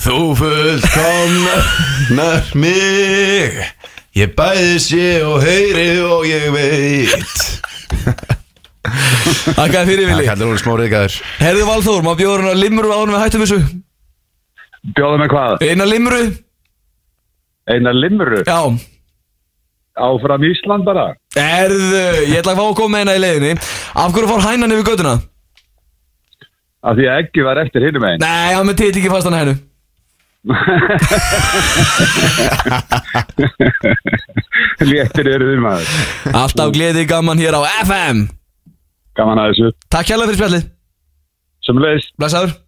Þú fullkomnar mig Ég bæði sé og heyri og ég veit Takk að Það fyrir Vili kallar hún smá reyðgæður Herðu Valþór, maður bjóður hann að limru áður en við hættum þessu Bjóða með hvað? Eina limru, Einar limru? já Áfram Ísland bara? Erðu, ég ætla að fá að koma með hérna í leiðinni Af hverju fór hænan yfir göduna? Af því að ekki var eftir hinum (laughs) einn. Nei, hann með titl ekki fastan hænu Léttir eru þið maður. Alltaf gleði gaman hér á FM Gaman að þessu. Takk hérlega fyrir spjallið, Sem leist. blæsaður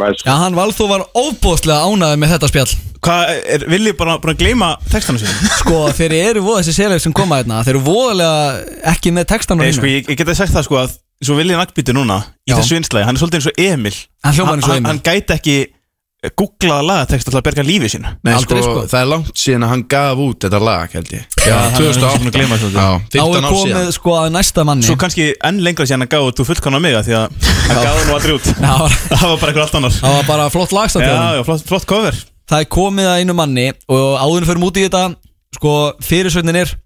Læs. Já, hann Valþó var óbóðslega ánæðið með þetta spjall Hvað er, viljið bara, bara gleyma textana sér? Sko, þeir eru voða þessi sérleif sem koma hérna Þeir eru voðalega ekki með textan á Nei, hreinu. sko, ég, ég geta sagt það sko að Svo viljið nagbíti núna Í Já. þessu einslægi, hann er svolítið eins og Emil Hann hljómar eins og Emil. Hann gæti ekki googlað lagatext til að berga lífið sín Nei, Aldrei, sko, sko. það er langt síðan að hann gaf út þetta lag, held ég Já, hann er búinn að gleyma þessu. Já, Þá 15 er ár síðan komið sko að næsta manni Svo kannski enn lengra síðan hann gáði Þú fullkona mig að því að hann gáði nú aldrei út Já, (laughs) það var- Það var bara eitthvað allt annar Það var bara flott lagsamt hjá Já, honum. já, flott, flott cover Það er komið að einu manni Og áðurinn fyrir múti í þetta Sko, fyrirsögnin er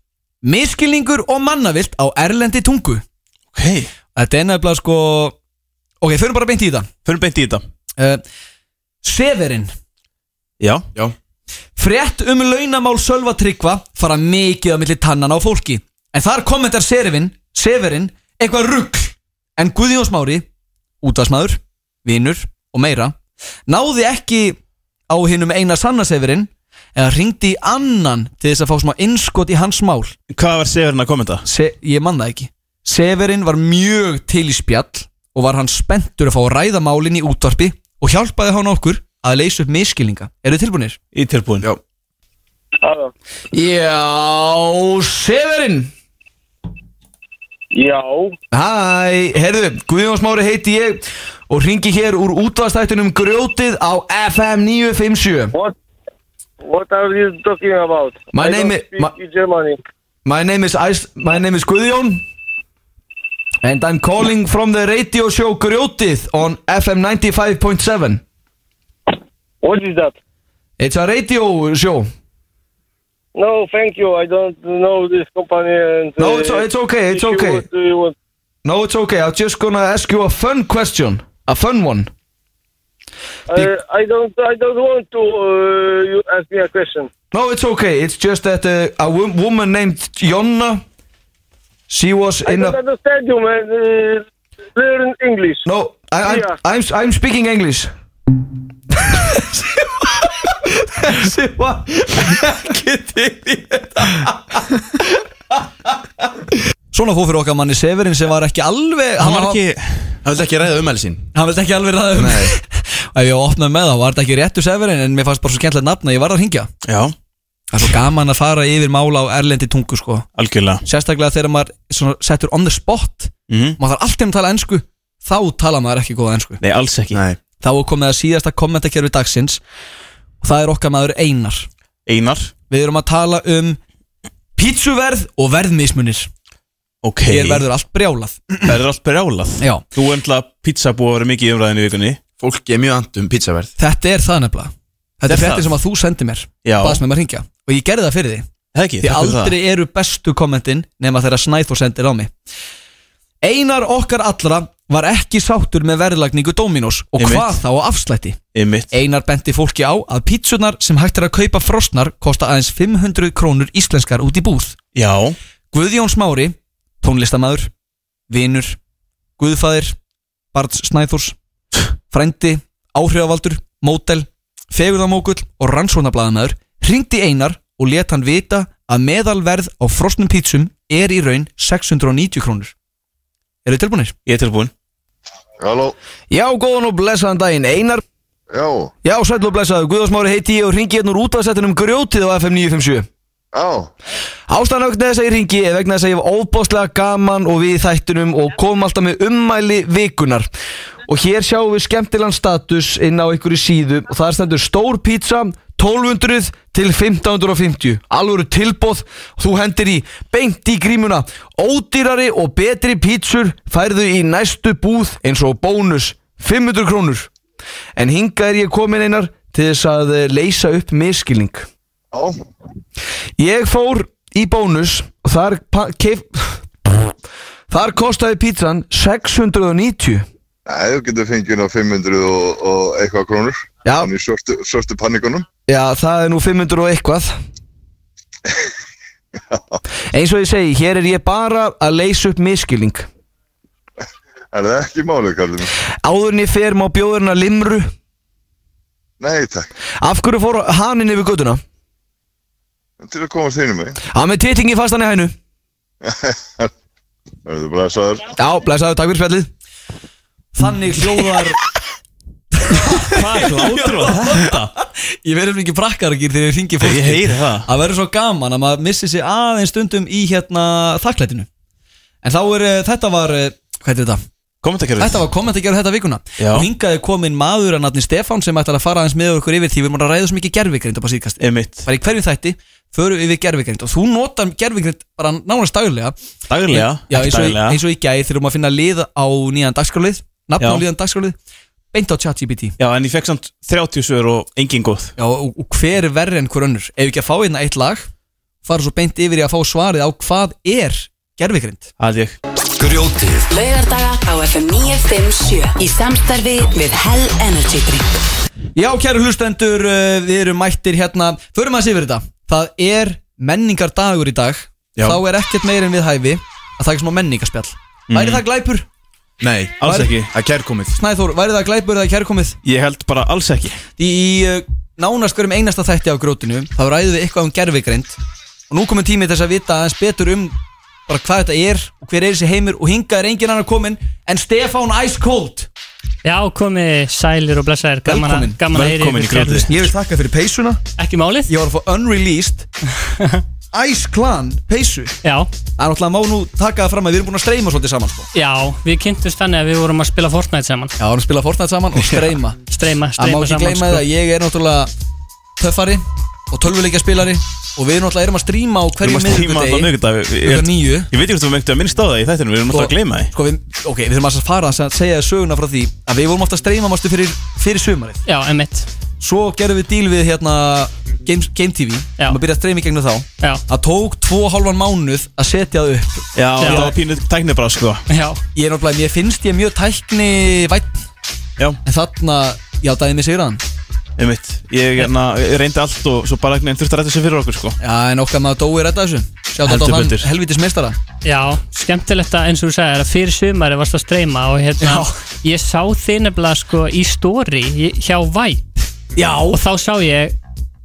Miskilningur og mannavilt á erlendi tungu Ok, Þetta er nefnilega sko Ok, förum bara beint í þetta förum beint í þetta uh, Severin Já, Já, Frétt um launamál Sölva Tryggva fara mikið á milli tannan á fólki En þar kommentar Severin, Severin eitthvað rugg En Guðjón Smári, útvarsmaður, vinur og meira Náði ekki á hinnum eina sanna Severin Eða ringdi í annan til þess að fá smá innskot í hans mál hvað var Severin að kommenta? Se, Ég man það ekki Severin var mjög til í spjall Og var hann spenntur að fá að ræða málin í útvarpi Og hjálpaði hann okkur að leysa upp miskilninga Eru þið tilbúinir? Í tilbúin já, Já, Severin Já, Hæ, herðu, Guðjón Smári heiti ég og ringi hér úr útvastættunum Grjótið á FM 957 what what are you talking about? My I name don't i- speak my- in Germany. My name is, Ice, my name is Guðjón And I'm calling from the radio show Grjótið on FM 95.7 What is that? It's a radio show No, thank you. I don't know this company. And, uh, No, it's- it's okay, it's if you okay. want to- you want- No, it's okay, I'm just gonna ask you a fun question A fun one uh, I don't. I don't want to. Uh, you ask me a question. No, it's okay. It's just that uh, a wo- woman named Jonna, she was I in don't a. understand you, man. Uh, learn English. No, Oh, I, I'm, Yeah. I'm I'm speaking English. (laughs) Þessi var ekki til í Svona fór fyrir okkar manni Severin sem var ekki alveg Hann var ekki hann vildi ekki ræða umæli sín Hann vildi ekki alveg ræða um Og ef ég opnaði með það var þetta ekki réttu Severin En mér fannst bara svo skemmtilegt nafn að ég varð að hringja Já, Það er svo gaman að fara yfir mála á erlendi tungu sko algjörlega Sérstaklega þegar maður svona, settur on the spot Mhm. Maður þarf alltaf að tala ensku Þá tala maður ekki góða ensku Nei, alls ekki Nei, Þá er komið að síðasta kommentarkerfi dagsins Og það er okkar maður Einar Einar Við erum að tala um pítsuverð og verðmismunir Ok Ég verður allt brjálað Það er allt brjálað Já. Þú endla pizza búið að vera mikið í umræðinu í vikunni Fólk er mjög andum pizzaverð Þetta er það nefnilega Þetta Þetta er er fréttir það. sem að þú sendir mér Já. Baðst um með maður hringja Og ég gerði það fyrir því Það ekki, Því takk fyrir aldrei eru bestu kommentin nema þegar Snæþór sendir á mig Einar okkar allra var ekki sáttur með verðlagningu Dominos og Einmitt. hvað þá á afslætti það Einmitt Einar benti fólki á að pítsunar sem hægt er að kaupa frosnar kosta aðeins 500 krónur íslenskar út í búð Já Guðjón Smári, tónlistamæður, vinur, guðfæðir, barns Snæþórs, frændi, áhrifavaldur, mótel, fegurðamókull og rannsónablaðamæður hringdi Einar og let hann vita að meðalverð á frosnum pítsum er í raun 690 krónur. Eru þið tilbúinir? Ég er tilbúin Halló, Já, góðan og blessaðan daginn Einar já, Já, sæll og blessaðu, Guðarsmári heiti ég og ringi hérna úr útvarsettinum grjótið á FM 957 já, Ástæðan vegna þess að ég ringi er vegna þess að ég hef óbáslega gaman og við í þættunum og kom alltaf með ummæli vikunar og hér sjáum við skemmtilegan status inn á einhverju síðu og það er stendur stór pizza 1200 til 1550 alvöru tilbóð þú hendir í beint í grímuna ódýrari og betri pítsur færðu í næstu búð eins og bónus 500 krónur en hingað er ég komin einar til þess að eh, leysa upp miskilning já, Ég fór í bónus og þar pa- keif, þar kostaði pítsan 690 Nei, þú getur fengið hérna 500 og, og eitthvað krónur Já. Þannig svörstu, svörstu pannikunum Já, það er nú 500 og eitthvað Eins og ég segi, hér er ég bara að leysa upp miskilning Er það ekki málið, kallum við? Áður en ég fer má bjóðurna limru Nei, takk Af hverju fór haninn yfir göduna? Til að komast þínum mig Að með tittingi fastan í hænu Verður bara að sagður Já, blæsaðu, takk fyrir spjallið Þannig hljóðar... Hvað hlátur var þetta? Ég verður ekki brakkaragýr þegar ég ringi fólki. Ég heyri það. Að verður svo gaman að maður missi sig aðeins stundum í hérna þakklætinu. En þá er, eh, þetta var, eh, hvað er þetta? Kommentarkerfið Þetta var komment að gera þetta vikuna Já. Og hingaði komin maður að nafni Stefán sem ætlar að fara aðeins með okkur yfir því við erum að ræða svo mikið gerfigrind upp á síðkast Einmitt Bara í hverjum þætti, förum við yfir gerfigrind og þú notar gerfigrind bara nánast daglega Daglega Já, eins og, Daglega. í- eins og í gæði þurfum að finna lið á nýjan dagskrálið Nafn á Já. líðan dagskrálið Beint á ChatGPT Já, en ég fekk samt 30 svör og engin góð Já, og, og hver er verri en hver önnur Ef við ekki að fá hérna eitt lag fara svo beint yfir í að fá svarið á hvað er gerfigrind Það ég Grjótið Laugardaga á FM 957 Í samstarfi við Hell Energy Drink Já, kæru hlustendur, uh, við erum mættir hérna Förum aðeins yfir þetta Það er menningardagur í dag Já. Þá er ekkert meir en við hæfi að taka smá menningarspjall Væri það glæpur, Nei Alls ekki Það er kærkomið Snæþór, væri það glæpur eða kærkomið Ég held bara alls ekki Í uh, nánast hverjum einasta þætti af grótinu Þá ræðum við eitthvað um gerfigreind Og nú komum tími til þess að vita aðeins betur um bara hvað þetta er og hver er þessi heimur og hingað er engin annar komin en Stefán Ice Cold Já, komið Eh, sælir og blessaðir Gaman að, Velkomin. gaman að heyri Velkomin í grjótið Ég vil þakka fyrir peysuna Ekki málið? Ég var að fá (laughs) unreleased Ice Clan peysu Já, Það er náttúrulega má nú taka það fram að við erum búin að streyma svolítið saman sko. já, við kynntumst þannig að við vorum að spila Fortnite saman Já, við erum að spila Fortnite (laughs) saman og streyma Streyma, Það má streyma ekki saman sko. gleyma það að ég er náttúrulega töffari og tölvuleikja spilari og við náttúrulega erum að stríma á Við erum hverju að stíma alltaf miðvikudegi miðvikudag klukkan níu. Ég veit ekki hvort þú mengtu að minnst á það í þættinum Við erum alltaf að gleyma því sko, við, Ok, við þurfum að fara að segja þér söguna frá því að við vorum ofta að streyma mástu fyrir, fyrir sumarið Já, emitt Svo gerðum við díl við hérna Game, Game TV Já. um að byrja að streyma í gegnum þá Já, Það tók tvo og hálfan mánuð að setja það upp Já, það var pínu tæknir bara sko já, Ég er náttúrulega, mér finnst ég mjög tækni vætt Já, En þarna, já, dæði mig sigraðan einmitt Ég hérna, ég reyndi allt og svo bara einhvern veginn þurfti að ræta sér fyrir okkur sko Já, en okkar maður dói rætta þessu Sjátt á Heldur þann betur. helvitis mistara já Skemmtilegt að eins og þú sagðir að fyrir sumari varst að streyma og hérna Ég sá þið nefnilega sko í story í- hjá Vibe Já og þá sá ég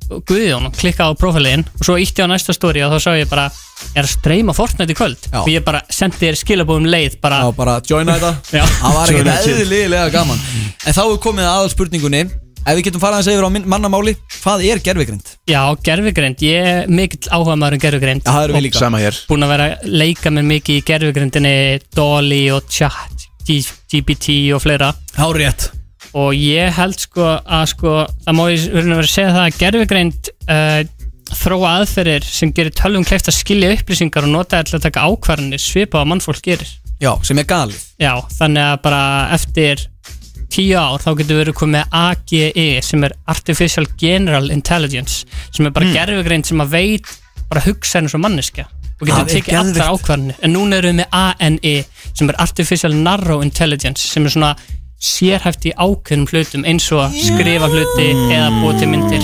Guðjón klikka á profilinn og svo ítti á næsta story og þá sá ég bara er að streyma Fortnite í kvöld Já. og ég bara sendi þér skilabóðum leið bara, Já, bara joina þetta (laughs) Já. Það var Joina ekkert shit. eðlilega gaman En þá er komið aðal spurningunni Ef við getum farað að segja yfir á minn- mannamáli Hvað er gerfigrind? já, gerfugreind ég er mikill áhuga maður um gerfugreind Já, það erum við líka Sama hér búin að vera að leika með mikið í gerfugrindinni Dolly og Chat G- GPT og fleira Hárétt og ég held sko að sko, það má ég verið að vera að segja það að gerfugrind uh, þróa aðferðir sem gerir tölvum kleift að skilja upplýsingar og nota þær til að taka ákvarðanir svipað að mannfólk gerir Já, sem er galið Já, þannig að bara eftir tíu ár þá getur verið komið með AGE sem er Artificial General Intelligence sem er bara Mm. mm. sem að veit bara hugsa henni svo manneska Það og getur er tekið allar geðveikt. ákvarðanir en núna erum við með ANE sem er Artificial Narrow Intelligence sem er svona sérhæft í ákveðnum hlutum eins og að skrifa hluti eða búa til myndir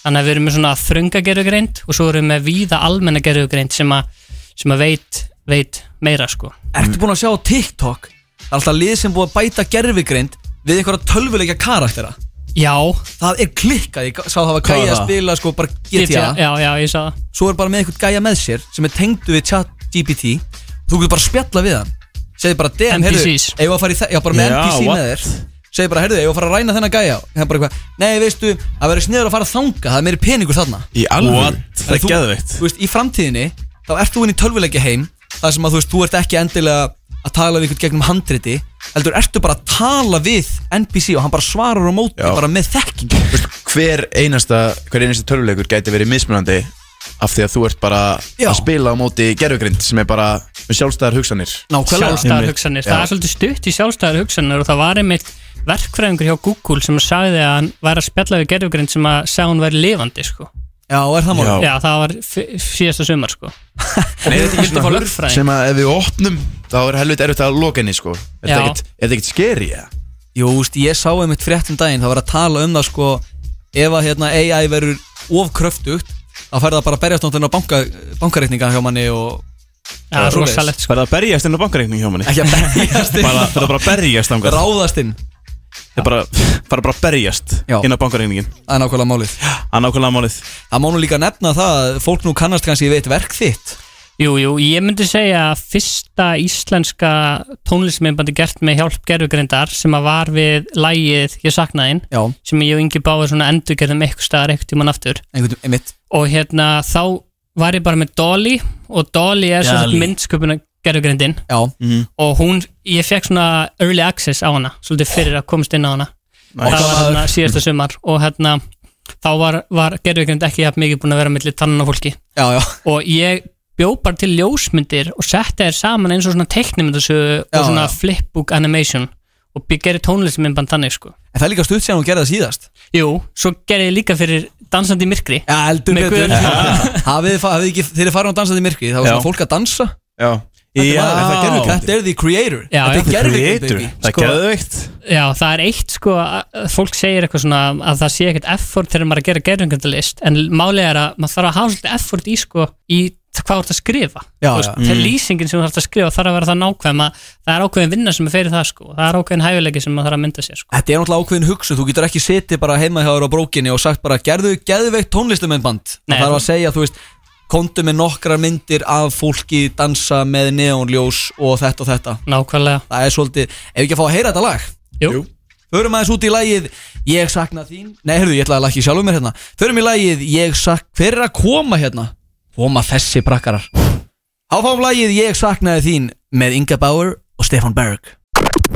þannig að við erum með svona þrönga gerðugreind og svo erum við með víða almenna gerðugreind sem að, sem að veit, veit meira sko Ertu búin að sjá á TikTok Það er alltaf lið sem búið að bæta gerfigreind Við einhverja tölvuleika karaktera Já Það er klikkað, ég sá það var Hvað var gæja að það? spila sko bara GTA GTA, já, já, ég sá það Svo er bara með einhvern gæja með sér sem er tengdu við chat GPT Þú getur bara að spjalla við hann Segði bara, damn, heyrðu, NPCs. eigum við að fara í það Já, bara með Já, NPC what? með þér Segði bara, heyrðu, eigum við að fara að ræna þennan gæja Hann bara eitthvað, nei, veistu, það verður sniður að fara þanga Það er meiri peningur þarna Í alvöru? What? Þannig Það er þú- geðveikt. Þú veist, í framtíðinni, þá ert þú inn í tölvuleikja heim Það sem að þú veist, þú ert ekki endilega að tala við ykkur gegnum handriti Heldur, ertu bara að tala við NPC og hann bara svarar á móti bara með þekking hver einasta, hver einasta tölvuleikur gæti verið mismunandi af því að þú ert bara Já. að spila á móti gerfugrind sem er bara með sjálfstæðar hugsanir sjálfstæðar hugsanir, það er Já. svolítið stutt í sjálfstæðar hugsanir og það var einmitt verkfræðingur hjá Google sem sagði að hann væri að spjalla við gerfugrind sem að sagði hún væri lifandi sko. Já, er það málið? Já, það var f- síðasta sumar sko. Nei, þetta Og er ekki hún vildi fá svona hurð lögfræðing. sem að ef við opnum þá er helvit erfitt að loka henni sko er Já. þetta ekkert- er þetta ekkert skeri ja? Jú, úst, ég sá einmitt frétt um daginn, það var að tala um það sko Ef að hérna, AI verður ofkröftugt Þá fær það bara að berjast náttúrulega á banka, bankareikninga hjá manni og Það er svoleiðis. rosalegt Það Sko, er að berjast inn á bankareikning hjá manni Ekki að berjast inn. Bara- Það er bara að berjast þangað. Ráðast inn Það er bara fara bara að berjast Já. inn á bankareikningin Það er nákvæmlega málið Það er nákvæmlega málið Það má nú líka nefna það að fólk nú kannast kannski við eitt verk þitt Jú, jú, ég myndi segja að fyrsta íslenska tónlistmyndbandi gert með hjálp gerfugrindar sem að var við lægið Ég sakna þín Já. sem ég og Ingi báði svona endurgerðum eitthvað staðar eitthvað tíman aftur einhvern einmitt og hérna þá var ég bara með Dolly og Dolly er svona Dolly. myndsköpuna gerfugrindin Já og hún, ég fekk svona early access á hana, svolítið fyrir að komast inn á hana Nice. það var Okkar hérna maður. síðasta sumar og hérna þá var, var gerðugrind ekki jafn mikið búin að vera millir tannan á fólki já, já. og ég bjó bara til ljósmyndir og setti þær saman eins og svona teiknimyndasögu Já, og svona já. flipbook animation og by- gerði tónlistmyndband þannig sko En það er líka stutt sem hún gerði það síðast Jú, svo gerði ég líka fyrir Dansandi í myrkri Já, heldur Með betur Guðjóni Smára. (laughs) Hafið þið fa- hafið þið ekki, þeir eru farin á dansandi myrkri Það var svona Já. fólk að dansa Já Þetta, Já. var, Er það gervigreind? þetta er the creator Já, Þetta já. er gerðugrind Sko, Já, það er eitt sko að- að fólk segir eitthvað svona að það sé ekkert effort þegar maður er að gera gerðungandalist en málið er að maður þarf að hafa svolítið effort í sko í t- hvað þú ert að skrifa Já, Þú veist, já. þegar Mm. lýsingin sem þú þarf að skrifa þarf að vera það nákvæm að það er ákveðin vinna sem er fyrir það sko það er ákveðin hæfileiki sem maður þarf að mynda sér sko Þetta er náttúrulega ákveðin hugsun, þú getur ekki setið bara heima hjá þér á brókinni og sagt bara gerðu geðveikt tónlistamennband Nei, Það þarf að þú- segja, þú veist, komdu með nokkra myndir af fólki dansa með neónljós og þetta og þetta Nákvæmlega Það er svolítið, ef við ekki að fá að heyra þetta lag Jú Förum aðeins út í lagið Ég sakna þín Nei, heyrðu, ég ætla að lakki sjálfur mér hérna Förum í lagið Ég sak Hver er að koma hérna? Koma þessi brakkarar Áfám lagið Ég saknaði þín Með Inga Bauer og Stefan Berg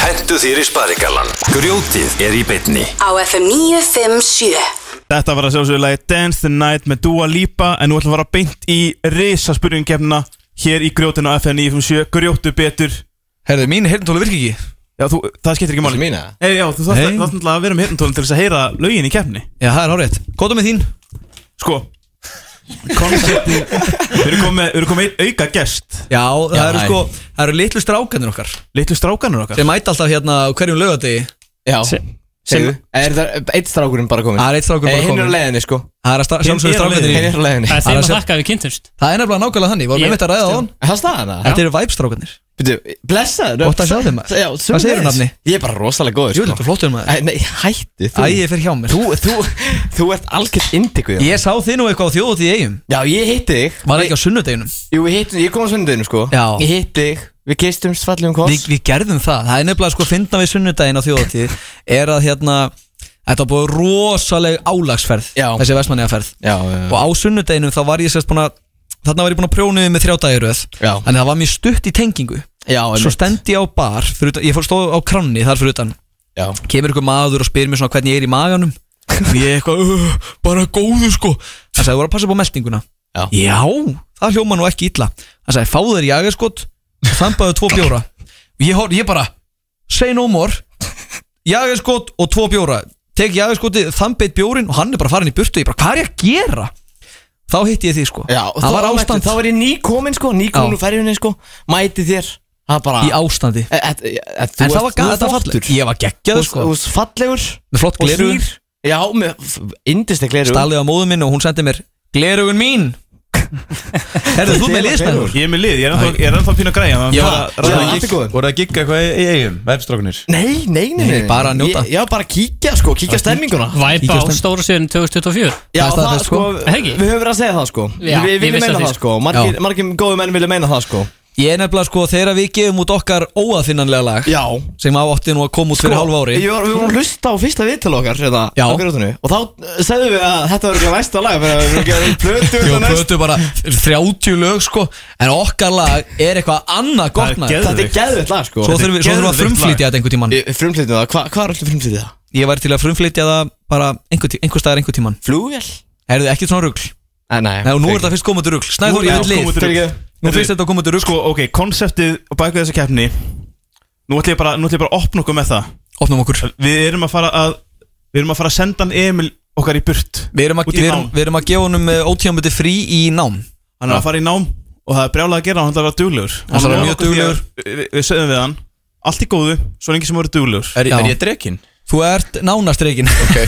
Hentu þér í sparigallan Grjótið er í beinni Á FM 957 Þetta var að sjálfsögðu lagi Dance the Night með Dua Lipa en nú ætlum við að fara beint í risa spurningkefna hér í grjótinu á FN 957 grjótu betur Herðu, mín hirntóla virki ekki Já, þú, það skiptir ekki máli mína? Nei, já, þú þarf Nei. það náttúrulega að vera með hirntólinn til þess að heyra lögin í kefni Já, það er hárið Kóta með þín Sko Koncepti Við erum komið, við erum komið einn auka gest Já, það Já, eru hæ. sko Það eru litlu strákanir okkar Litlu strákanir okkar Sem mæta alltaf hérna á hverjum lögadegi Já Segðu. Segðu. Er það eitt strákurinn bara komin? Það er eitt strákur Ah, bara Hinn er á kominn. leiðinni sko Það er að sta- Hinn sjálfsögðu er á strákarnir í- leiðinni. Hinn er á leiðinni Það er þeim að Annars- þakka að við kynntumst Það er nefnilega nákvæmlega þannig, vorum Ég- við mitt að ræða á hann Er Það staðan það? Þetta eru væpstrákanir Býtu, blessaður Gott að sjá þig, maður. Já, Hvað sömuleiðis. segirðu, nafni? Ég er bara rosalega góður sko. Jú, þetta er flottur, maður. Æ, Nei, hætti Æ, ég fer hjá mér Þú, þú, þú ert algjörst indikuð Ég sá þið nú eitthvað á þjóðut í eigum Já, ég hitti þig Var ekki á sunnudeginum? Jú, við hittum, ég kom á sunnudeginu sko Já Ég hitti þig, við gistum svallum kost Vi, við gerðum það, það er nefnilega sko finna við sunnudaginn á þjóðatíð er að hérna Þetta var búið rosaleg álagsferð já. Þessi vestmanniðaferð já, já, Og á sunnudeginum þá var ég sérst búin að Þarna var ég búin að prjónuði með þrjá dagiröð Já. En það var mér stutt í tengingu Já, Svo stend ég á bar fyrir, utan, Ég fór stóð á kranni þar fyrir utan Já. Kemur ykkur maður og spyr mér svona hvernig ég er í maganum Ég eitthvað, uh, bara góðu sko Hann sagði, þú voru að passa upp á meldinguna Já, það hljóma nú ekki illa Hann sagði, fá þér jagerskot Þambaðu tvo bjóra Ég, hor, ég bara, say no more Jagerskot og tvo bjóra Tek jagerskotið, þambið bjórin Og hann er bara farin í burtu, ég bara, hvað er ég að gera? Þá hitti ég þig sko Já, Og þá var mætti- ástand Þá var ég nýkomin sko, nýkomin Já. úr ferjunni sko Mæti þér Það bara Í ástandi e, e, e, e, En það var ga- þetta var fallegt. Ég var geggjaður, sko. Þú veist fallegur Með flott Og gleraugu. hlýr. Já, með indistek gleru Stalið á móðu minni og hún sendi mér Glerugun (laughs) mín Herðu, þú ert með liðstæður Ég er með lið, ég er ennþá- ég er ennþá pínu að græja Já, það voru að gigga- voru að gigga eitthvað í í eigum, vefstrákunir Nei, nei, nei, nei. Nei, bara að njóta. Ég- Já, bara kíkja sko, kíkja stemminguna Væpa Kíkja á stem- stóra sérinn 2024 Já, það, sko, Hegi? við höfum verið að segja það sko Já, Við ég viljum vissi meina að því, það sko, sko. margir, Já. margir góðu menn vilja meina það sko Ég er nefnilega sko þegar við gefum út okkar óaðfinnanlega lag Já Sem átti nú að koma út fyrir hálf ári Sko, Ég var, við vorum að hlusta á fyrsta viðtal okkar hérna, Já. á grjótunni Og þá eh, sagðum við að þetta verður ekki að næsta lag Fyrir að við verðum ekki að gera plötu Jó, þetta næst- plötu bara 30 lög sko En okkar lag er eitthvað annað gott maður. Þetta er geðvitt lag sko Svo þurfum við- svo þurfum við að frumflytja þetta einhver tíman Frumflýtja það, Hva- hvað er alltaf frumflýtja það? Ég væri til að frumflytja það bara einhver, tí- einhver staðar einhver tíman Flugvél? Er þið ekkert svona rugl? Nei, og nú er þetta fyrst komandi rugl Snæður, ég vil lið Nú fyrst þetta komandi rugg Sko, ok, konseptið á bakvið þessa keppni Nú ætlum ég bara, nú ætlum ég bara að opna okkur með það Opnum okkur Við erum að fara að Við erum að fara að senda hann Emil okkar í burt Við erum að, Út í við nám erum, við erum að gefa honum ótíðanbyrti frí í nám Hann er að fara í nám og það er brjálað að gera Hann ætlar að vera duglegur Hann ætlar að vera mjög Okkur því að- duglegur. Við við sögðum við hann Allt í góðu, svo lengi sem voru duglegur Er- er Já. ég drekinn? Þú ert nánast reygin okay.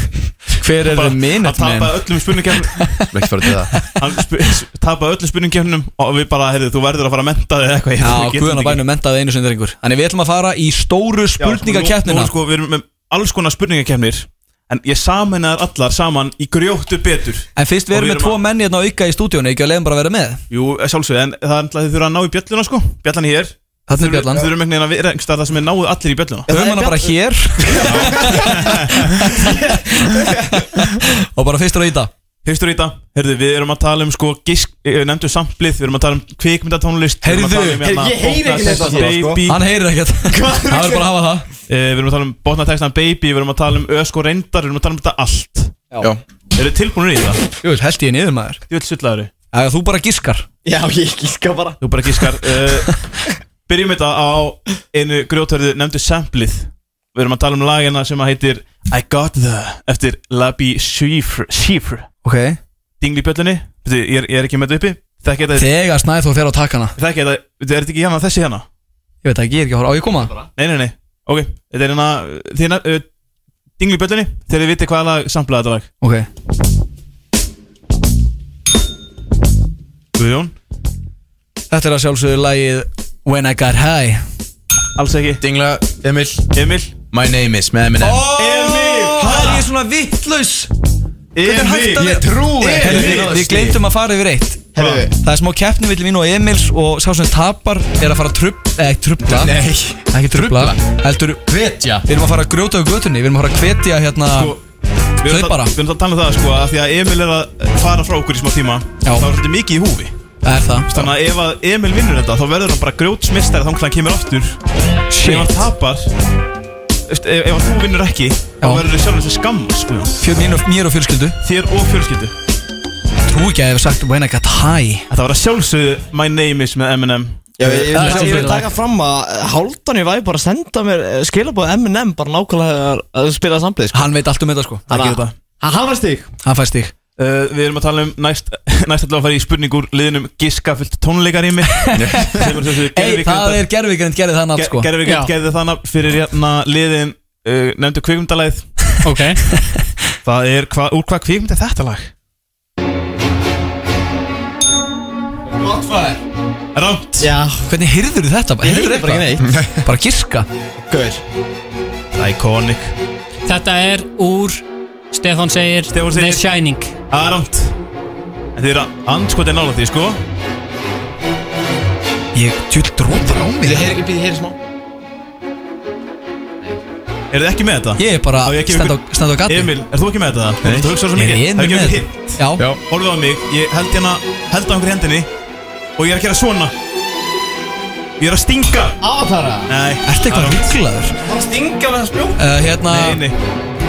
(laughs) Hver er minut Hann tapaði öllum (laughs) spurningkefnum Ekki fara til það (laughs) Hann sp- sp- tapaði öllum spurningkefnum Og við bara, heyrðu, þú verður að fara að menta þig eða eitthvað Já, Ég get guðan þetta að bænum mentaði einu sem þeir yngur Þannig við ætlum að fara í stóru Já, spurningakeppnina nú- nú, sko, Við erum með alls konar spurningakeppnir En ég saminnaði allar saman í grjóttu betur En fyrst við Og erum með tvo menn hérna auka í stúdíónu Ekki að leiðum bara að vera með Jú, sjálfsög, en það er alltaf þið þurfa að ná í bjölluna sko Bjallan hér Þarna er bjallan. Þau eru megnin að vera einhverstað það sem er náðu allir í bjölluna Höfum hana bara hér (laughs) Og bara fyrstur að íta Fyrstur í þetta, heyrðu, við erum að tala um sko gisk, eh, nefndu samplið, við erum að tala um kvikmyndatónlist við erum að Heyrðu, tala um, hérna, heyrðu, ég heyri Botna ekki þetta hér, Textan sko. Baby. Hann heyrir ekkert. Hvað er Hann vill bara hafa það. Eh, Við erum að tala um botna textan baby, við erum að tala um ösk og reyndar, við erum að tala um þetta allt Já. Eru tilbúinir í það? Jú, held ég niður maður Jú, sullaður Æ, Þú bara giskar Já, ég gíska bara Þú bara gískar uh, Byrjum þetta á einu grjótörðu nefndu samplið Við erum að tala um lagina sem að heitir I Got The Eftir Labi Schifr Schifr Ok Dingli í bjöllunni Veitu, ég, er- ég er ekki með þetta uppi Þekki þetta Þegar Snæður fer á takkana Þekki þetta Veitu, Er þetta ekki hérna þessi hérna? Ég veit ekki, ég er ekki að horfa á ég að koma Nei, nei, nei Ok, þetta er hérna Þína uh, Dingli í bjöllunni Þegar þið viti hvaða lag samplaði þetta lag Ok Guðjón Þetta er að sjálfsögðu lagið When I Got High Alls ekki Dingla, Emil Emil My name is með Eminem Emil Það er ég svona vittlaus Ég trúi ekki. Við, við gleymdum að fara yfir eitt Það er smá keppni vill mín og Emils Og sá sem tapar er að fara að trub, eh, trubla Nei. Ekki trubla Heldur Hvetja Við erum að fara að grjóta á götunni Við erum að fara að hvetja hérna Sko, Við erum Hlaupara. það- við erum það að tala um það sko að Því að Emil er að fara frá okkur í smá tíma Já. Það var svolítið mikið í húfi Það er það Þannig að ef að Emil vinnur þetta þá verður hann bara grjótsmistari þá hann kemur aftur Shit. Ef hann tapar Ef, ef að þú vinnur ekki þá Já. verður þið sjálfum þessi skammur sko Fjör, mín og, Mér og fjölskyldu Þér og fjölskyldu Trú ekki að ég hef sagt When I Got High Þetta var að sjálfsögðu My Name Is með Eminem Já, ég, ég, ég, Það er ég vil sjálfsagt. taka fram að Háldan ég væri bara að senda mér skilabóð M&M bara nákvæmlega að- að spila samplið sko. Hann veit allt um þetta sko Hann- Hann gerir þetta. Hann hafa stík Hann fæst þig Uh, við erum að tala um næst, (laughs) næst allavega að fara í spurning úr liðnum giskafyllt (laughs) tónleikarými Ei, það er gerðvíkjönd gerði þann allt sko Gerður við Já. gerði þannig fyrir hérna liðin uh, nefndu kvikmyndalæð Ok Það er hva, úr hvað kvikmynd er þetta lag? Godfather Rámt Já Hvernig heyrður þetta? Ég heyrði Heyrðirðu bara eitthvað? ekki neitt (laughs) Bara giska Gaur Iconic Þetta er úr Stefán segir, Stefán segir. The Shining Það er rámt En þið eru að andskotið nála því sko Ég tjúl drópar á mig Ég heyri ekki býði heyri smá Eru þið ekki með þetta? Ég er bara Á, ég gef stend á, ykkur- stend á gati Emil, er þú ekki með þetta? Þú ert að hugsa svo Ég mikið er Emil Það með ekki þetta. hitt Já, Já Horfðu á mig, ég held hérna Held á einhverju hendinni Og ég er að gera svona Ég er að stinga Avatara Nei Ertu eitthvað rugglaður? Hann stinga með hans bjó Uh, hérna Nei, nei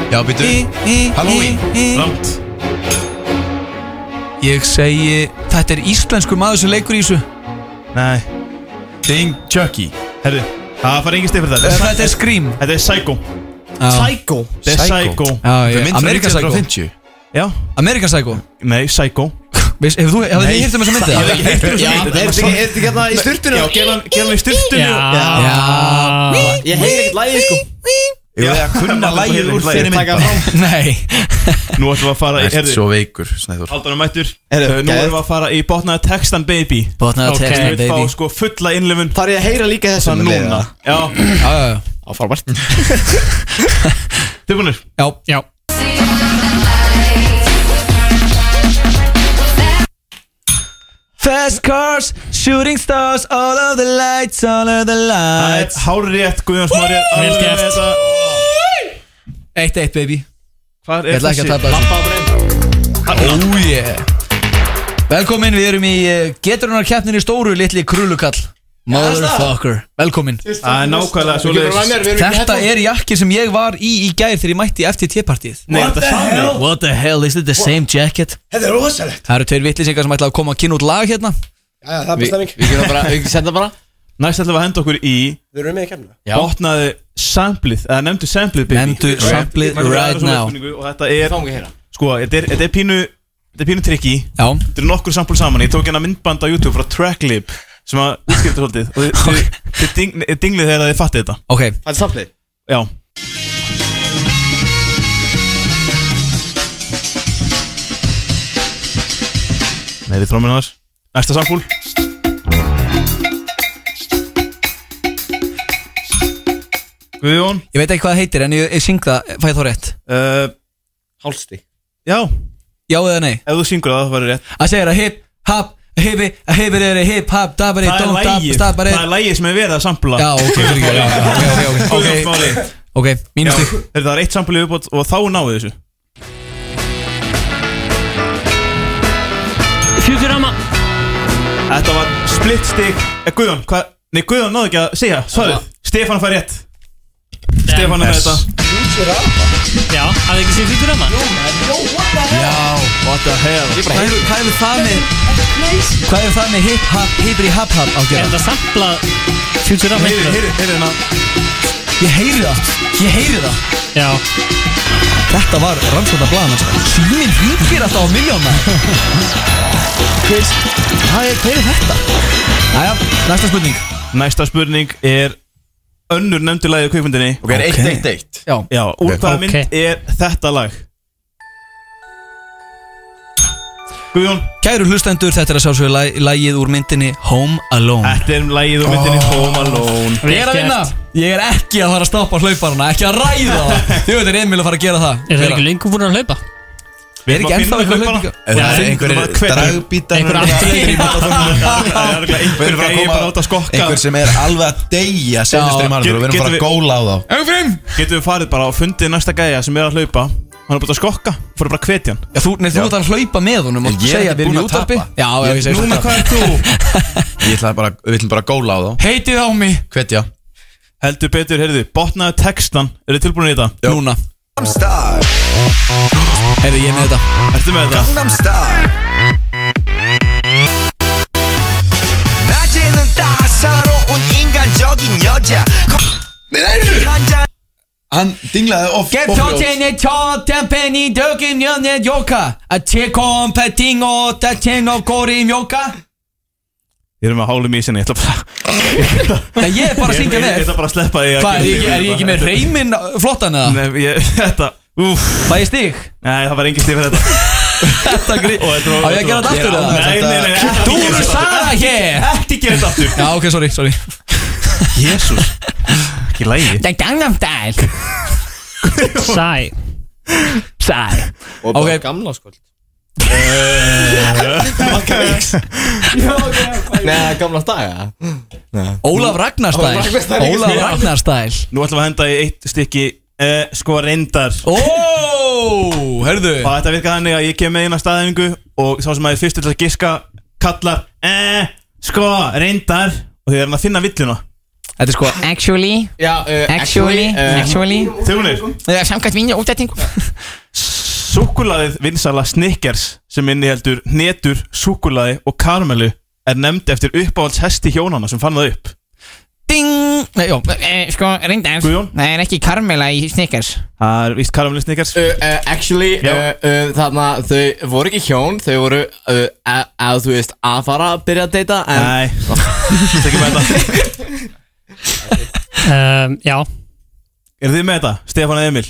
Já, býtu Halloween Rámt Ég segi Þetta er íslensku maður sem leikur í þessu Nei Ding Chucky Herru Það fara engin stið fyrir Eh, það þetta er Scream Þetta er Psycho Já. Psycho? Þetta er Psycho Já, já, America Psycho Já America Psycho Nei, Psycho Veist, hefur þú, hefur þið Nei. hýrt um þessa myndið? Ég hef ekki heyrt um þessa mynd. hérna Já, gerðu hann- gerðu hann í sturtunni Já. Ég heyri ekkert lægið sko Ég veið að (laughs) kunna lægið úr þeirri mynd Nei Nú ætlum við að fara í Ert heyrðu, svo veikur, Snæður Haldanum mættur Heyrðu, Uh, Nú gæð. erum við að fara í botnaða textan baby Botnaða Ok. textan, Ég vil baby. Fá sko fulla innlifun Þar ég að heyra líka þessu Það núna Já Já, já, já Áfarbært Tilbúinir Já Já Fast cars, shooting stars All of the lights, all of the Það lights er hár rétt Guðjón Smári er alveg með gert. þetta. Eitt eitt baby Hvar Ég er ætla ekki að tapa þessi? þessu Ó Oh, yeah Velkomin, við erum í geturunar keppnin í stóru litli krullukall Motherfucker Velkomin Það er nákvæmlega svo Þetta er jakki sem ég var í í gær þegar ég mætti í FTT-partíð Nei, þetta er sami What the hell, is it the same jacket? Þetta er rosalegt Það eru tveir vitlýsingar sem ætla að koma að kynna út lag hérna Jæja, það er Við- bestemming við gerum bara- Við senda bara Næst ætlum við að henda okkur í Við erum með í kemna Botnaði samplið Eða nefndu samplið baby Nefndu Ok. samplið Þetta er right aðra svona now. spurningu Og þetta er Fáum við hérna Sko, þetta er, þetta er pínu Þetta er pínu trikki Já, Þetta er nokkur sampl saman Ég tók hérna myndband á YouTube frá Tracklib Sem að útskipta svolítið Og þið- þið- þið ding- þið dinglið þegar þið fattið þetta ok Það er samtlið Já Meiri tróminu þar Næsta sampúl Guðjón Ég veit ekki hvað það heitir en ég, ég syng það, fæ þá rétt uh, Hálsti Já, Já eða nei ef þú syngur það, það verður rétt Það segir að hip, hop, hipi, hipi, hipi, hip, hop, dabari, Það er don't, dab, lægið, stabari það er lægið sem er verið að sampla Já, ok, fyrir ekki, já, já, ok, ok, ok, Guðjón Smári ok, mínu Já, stík heyrðu, Það er eitt sampli uppátt og þá náðu þessu Futurama Þetta var splitt stig eh, Guðjón, hvað? Nei, Guðjón náðu ekki að segja Svarið, Stefán fær rétt Stefán er með þetta Já, hafði ekki séð Futurama? What the hell Hvað hefur hvað hefur það með Hvað hefur það með hip, hop, hipi, hop, hop á að Er gera? þetta samplað Futurama? Heyri, heyri, heyri hérna Ég heyri það, ég heyri það Já Þetta var rannsóta blaðan Sýmin hringir alltaf á miljóna Hvað er, hvað er þetta? Æja, næsta spurning Næsta spurning er Önnur nefndu lagið í kvikmyndinni Ok, er eitt, eitt, eitt Já, Já, úr hvaða Ok. mynd er þetta lag? Guðjón, Kæru hlustendur, þetta er að sjálfsögja lag, lagið úr myndinni Home Alone þetta er lagið úr myndinni Ah. Home Alone Ég er að vinna Ég er ekki að fara að stoppa hlauparana, ekki að ræða það Þið veit er Emil að fara að gera það Er það ekki lengur búin að hlaupa? Er Við erum ekki að ennþá finna eitthvað hlaupara. hlaupingar? Það Já, er bara einhverjir hver- dragbítar Einhver afturlegir í Það er örugglega um Við einhver erum bara gæi bara að átt að koma skokka Einhver sem er alveg að deyja Sennustur í get- mannur og við erum getum bara að við- góla á þá Öfrim! Getum við farið bara og fundið næsta gæja sem er að hlaupa Hann er búin að skokka, fórum bara að hvetja hann Já, þú, nei, þú ert að hlaupa með honum og Ég er segja ekki við erum í búinn að útarpi tapa. Já, já, ég segi sko. Núna, það hvað er þú? Ég ætla bara, við ætlum bara að góla á þá Heitið á mig Hvetja Heldur betur, heyrðu, botnaðu textan Eru þið tilbúin í þetta? Núna Heyrðu, ég er með þetta Ertu með þetta? Hann dinglaði of Get tóttinni tóttempenni dögin jönni jóka Að tekom petting og tetting og góri mjóka Ég er með hálum í sinni, ég ætla bara Það ég er bara að syngja Ég- Ég með ætla bara að sleppa því að Hvað, er gera ég, þetta. er ég ekki með reymin flottan eða? Nei, ég, (laughs) þetta, úff Fæ ég stig? Nei, það var engin stíf (laughs) fyrir þetta Þetta grið Og þetta var- Á ég að gera þetta aftur eða? Nei, nei, nei, ekki Þú gera eru þetta aftur. sagða hér Ekki gera þetta aftur Já, ok, sorry, sorry Jésús Ekki lægi Það er gangnam stæl Sæ Sæl Og bara Ok. gamla skuld (laughs) Nei, gamla daga Ólaf Ragnar stæl Ólaf Ragnar stæl Nú ætlum við að henda í eitt stykki uh, Sko reyndar Ó, herðu Og þetta virka þannig að ég kem með eina staðingu Og sá sem að ég fyrst til að giska Kallar eh, Sko reyndar Og og þið erum að finna villuna Þetta er sko Actually Já, uh, Actually, eh, actually. Þjónir, Eh, Samkvæmt mínu útættingu súkulaðið vinsala Snickers sem inniheldur netur, súkulaði og karmelu er nefnd eftir uppáhalds hesti hjónana sem fann það upp Ding Nei, Jó, eh, sko, reyndar Guðjón Það er ekki Karmela í Snickers Það er víst karmelu Snickers uh, uh, Actually, uh, uh, þarna, þau voru ekki hjón Þau voru, uh, að, að þú veist, að fara að byrja að deyta en... uh, Nei, ekki með þetta um, Já Er þið með þetta, Stefán og Emil?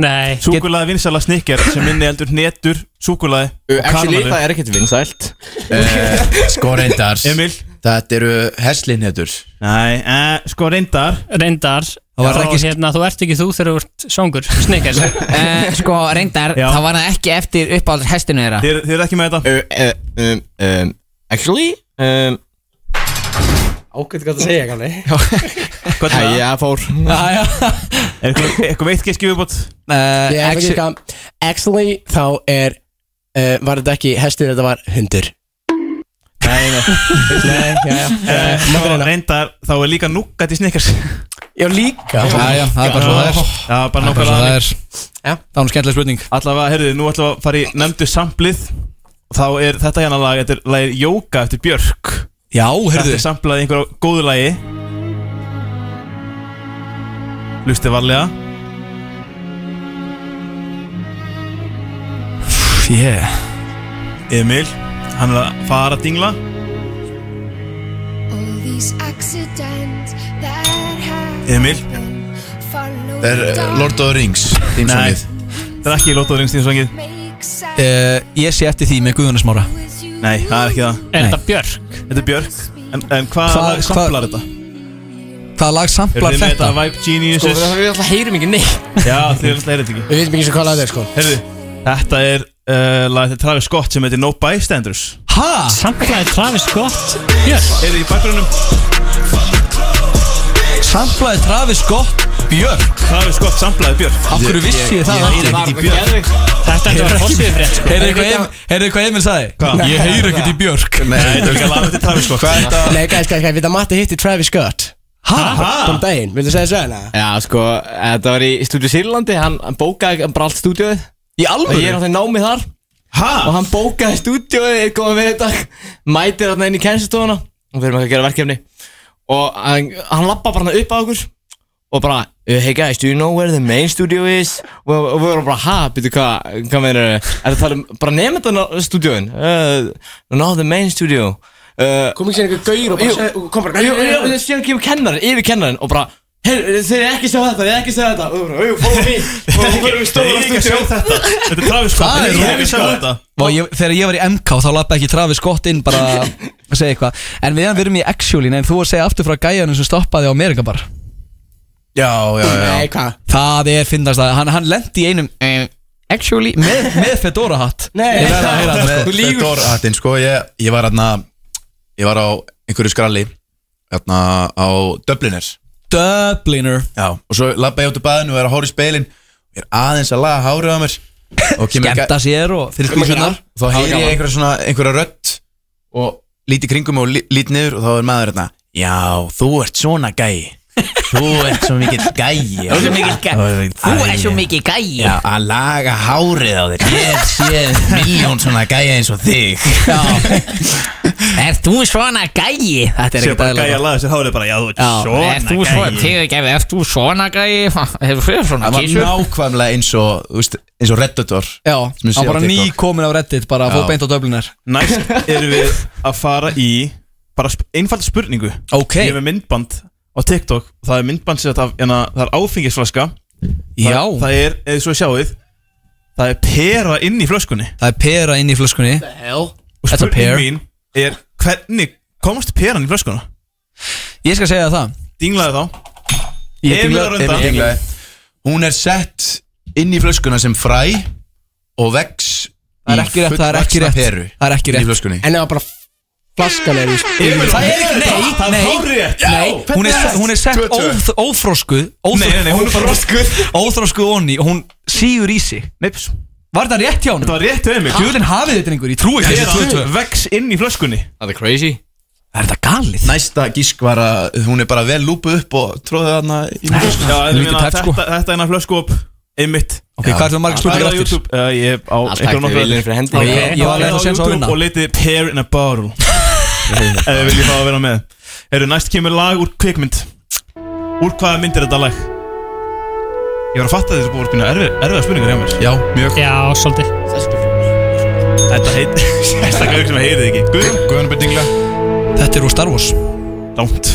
Nei Súkulaði vinsala Snickers sem inniheldur netur, súkulaði Uh, actually, það er ekkert vinsælt Eh, Sko reyndar Emil Þetta eru herslinhetur Nei, eh, sko reyndar Reyndar Það var Og ekki- hérna, þú ert ekki þú þegar þú ert songur (laughs) Snickers Eh, Sko, reyndar Já. þá var það ekki eftir uppáhalds hestinu þeirra Þið, þið er ekki með þetta uh, uh, um, um, Actually um, Ágætt gott að segja, kanni Eh, Hvað er það? Æja, fór Er eitthvað- eitthvað veit ekki skifubót? Eh, Ég hef ekki skam Actually, þá er uh, Var þetta ekki hestur, þetta var hundur Nei, nei Nei, já, já. Eh, Þá reyndar, þá er líka núkat í Snickers Já, líka Já, já, það er bara svo það er. Já, bara Það er bara svo nákvæmlega það er. Já, það var skemmtileg spurning Allavega, heyrðu, nú ætlum við að fara í nefndu samplið Og Þá er þetta hérna lag, þetta er lagið Jóka eftir Björk Já, heyrðu Þetta er samplað í einhverju góðu lagi Lustið varlega Yeah Emil, hann er að fara að dingla Emil Það er eh, Lord of the Rings Nei, það er ekki Lord of the Rings tímsongið uh, Ég sé eftir því með Guðunarsmára Nei, það er ekki það Er þetta Björk? Þetta er Björk En, en hvað Hvað- hva, samplar þetta? Hvaða lag samplar Eruð þið með þetta? þetta Vibe Geniuses? Sko, við- við alltaf heyrum ekki neitt Já, þið erum alltaf heyrið ekki Við veitum ekki sem hvað lag það er, sko. Heyrðu, þetta er uh, lag þetta er Travis Scott sem heitir No Bystanders Hæ? Samklaði Travis Scott Yes Heyrðu í bakgrunum Samplaði Travis Scott Björk Travis Scott samplaði Björk Af hverju vissi ég það Ég ekki heyri ekkert í Björk Þetta ætti að vera fórsíðufrétt, sko. Heyrðu hvað Emil- heyrðu hvað Emil sagði? Hvað? Ég heyri ekkert í Björk Nei, þetta er ekki að laga þetta Travis Scott Hvað Nei, gæs, gæs, gæs, við það Matti hitti Travis Scott Ha? Kom daginn, viltu segja þessu hana? Já, sko, þetta var í stúdíu Sýrlandi Hann hann bókaði bara allt stúdíuð Í alvöru? Og ég er náttúrulega námið þar Ha? Og hann bókaði stúdíuð Eitt komið með þetta Mætir hann inn í kennslustofuna Og við erum ekki að gera verkefni Og hann, hann lappa bara hann upp að okkur Og bara, "Uh, hey guys, do you know where the main studio is? Og og við vorum bara, ha, byrju hvað, hvað meður Er það talað um, bara nefnir þetta stúdíun uh, No, the main studio uh, Kom ekki sér einhver gaur og bara seg- og kom bara- Jú, jú, jú, síðan kemur kennarin, yfir kennarin Og bara, hey, þeir eru ekki að sjá þetta, þeir eru ekki að sjá þetta Og við bara, jú, follow me Og við fyrir Ég er stóðan ekki að sjá þetta Þetta er Travis Scott Það er Ég hef ekki Travis sjá Scott. þetta Vá, ég, Þegar ég var í MK þá lappa ekki Travis Scott inn bara að segja eitthvað En við erum í Actually, en þú að segja aftur frá gæjanum sem stoppaði á Amerika bara Já, já, já Nei, hvað? Það er finnast að hann, hann lendi í einum uh, Actually Með, með Fedora hatt Ég verð að heyra þetta sko. Fedorhattinn sko ég, ég var hérna Ég var á einhverju skralli Hérna á Dubliners Dubliner Já Og svo labba ég út úr baðinu og er að hóra í speilin Ég er aðeins að laga hárið á mér og kemur Skemmta eitthvað- sér og fyrir Kemur skúsunar. eitthvað- Þá heyri ég einhverja svona einhverja rödd Og líti kringum og lí- lít niður Og þá er maður hérna Já, þú ert svona gæi Þú ert svo mikill gæi Þú ert svo mikill gæi. Þú ert svo mikill gæi. Já, að laga hárið á þér Ég sé miljón svona gæi eins og þig Já Er þú svona gæi? Þetta er Sér ekki bara gæja laga sér hárið bara Já, þú ert svona Er þú svona, tegðu ekki ef þú svona gæi (laughs) Hefur þú svona Það var kísur? nákvæmlega eins og, þú veist, eins og redditor Já, Sem ég sé hann á bara TikTok. ný komin á Reddit bara að Já. fóð beint á Dubliner Næst erum við að fara í bara sp- einfalda spurningu Ok Ég er með myndband á TikTok Það er myndband sem þetta hérna, það er áfengisflaska Já Það, það er, eða svo sjáuð Það er pera inn í flöskunni Það er pera inn í flöskunni Og That's a pear. spurning mín er hvernig komast peran í flöskuna? Ég skal segja það Dinglaði þá Ég Emil dinglaði- að runda. Emil dinglaði. Hún er sett inn í flöskuna sem fræ Og vex Það er ekki rétt, það er ekki rétt. Það er ekki rétt. Í flöskunni En það var bara flaskan er í Emil, Það er ekki, nei, Það nei, er hárrétt. nei Já. Hún er, Hvernig er hún er sett það? Tvö, óþ- óþroskuð Nei, nei, nei, hún er bara- Óþroskuð onni og hún sígur í sig Neips Var þetta rétt hjá hann? Þetta var rétt hjá mig Djúlinn hafið þetta einhver, ég trúi ekki þessi tvö tvö Vex inn í flöskunni Það er crazy Er þetta galið? Næsta gísk var að hún er bara vel lúpuð upp og tróðið hana í mjög Já, ég meina, þetta, þetta er eina flösku upp Einmitt Ok, hvað ætlum margar spurningar eftir? Uh, ég á Allt takk einhverjum fyrir nokkrar- Elín fyrir hendi. Ég- ég var alveg að á sjá að YouTube hérna. vinna. Og litið Pear in a Bottle Ef þið viljið fá að vera með Eru, næst kemur lag úr kvikmynd Úr hvaða mynd er þetta lag? Ég var að fatta þess að búið að spina erfiða spurningar hjá mér Já, mjög Já, svolítið Þetta heit (laughs) Sérstaklega auk sem heyrið ekki Guðjón Guðjón Byrningla Þetta er úr Star Wars Langt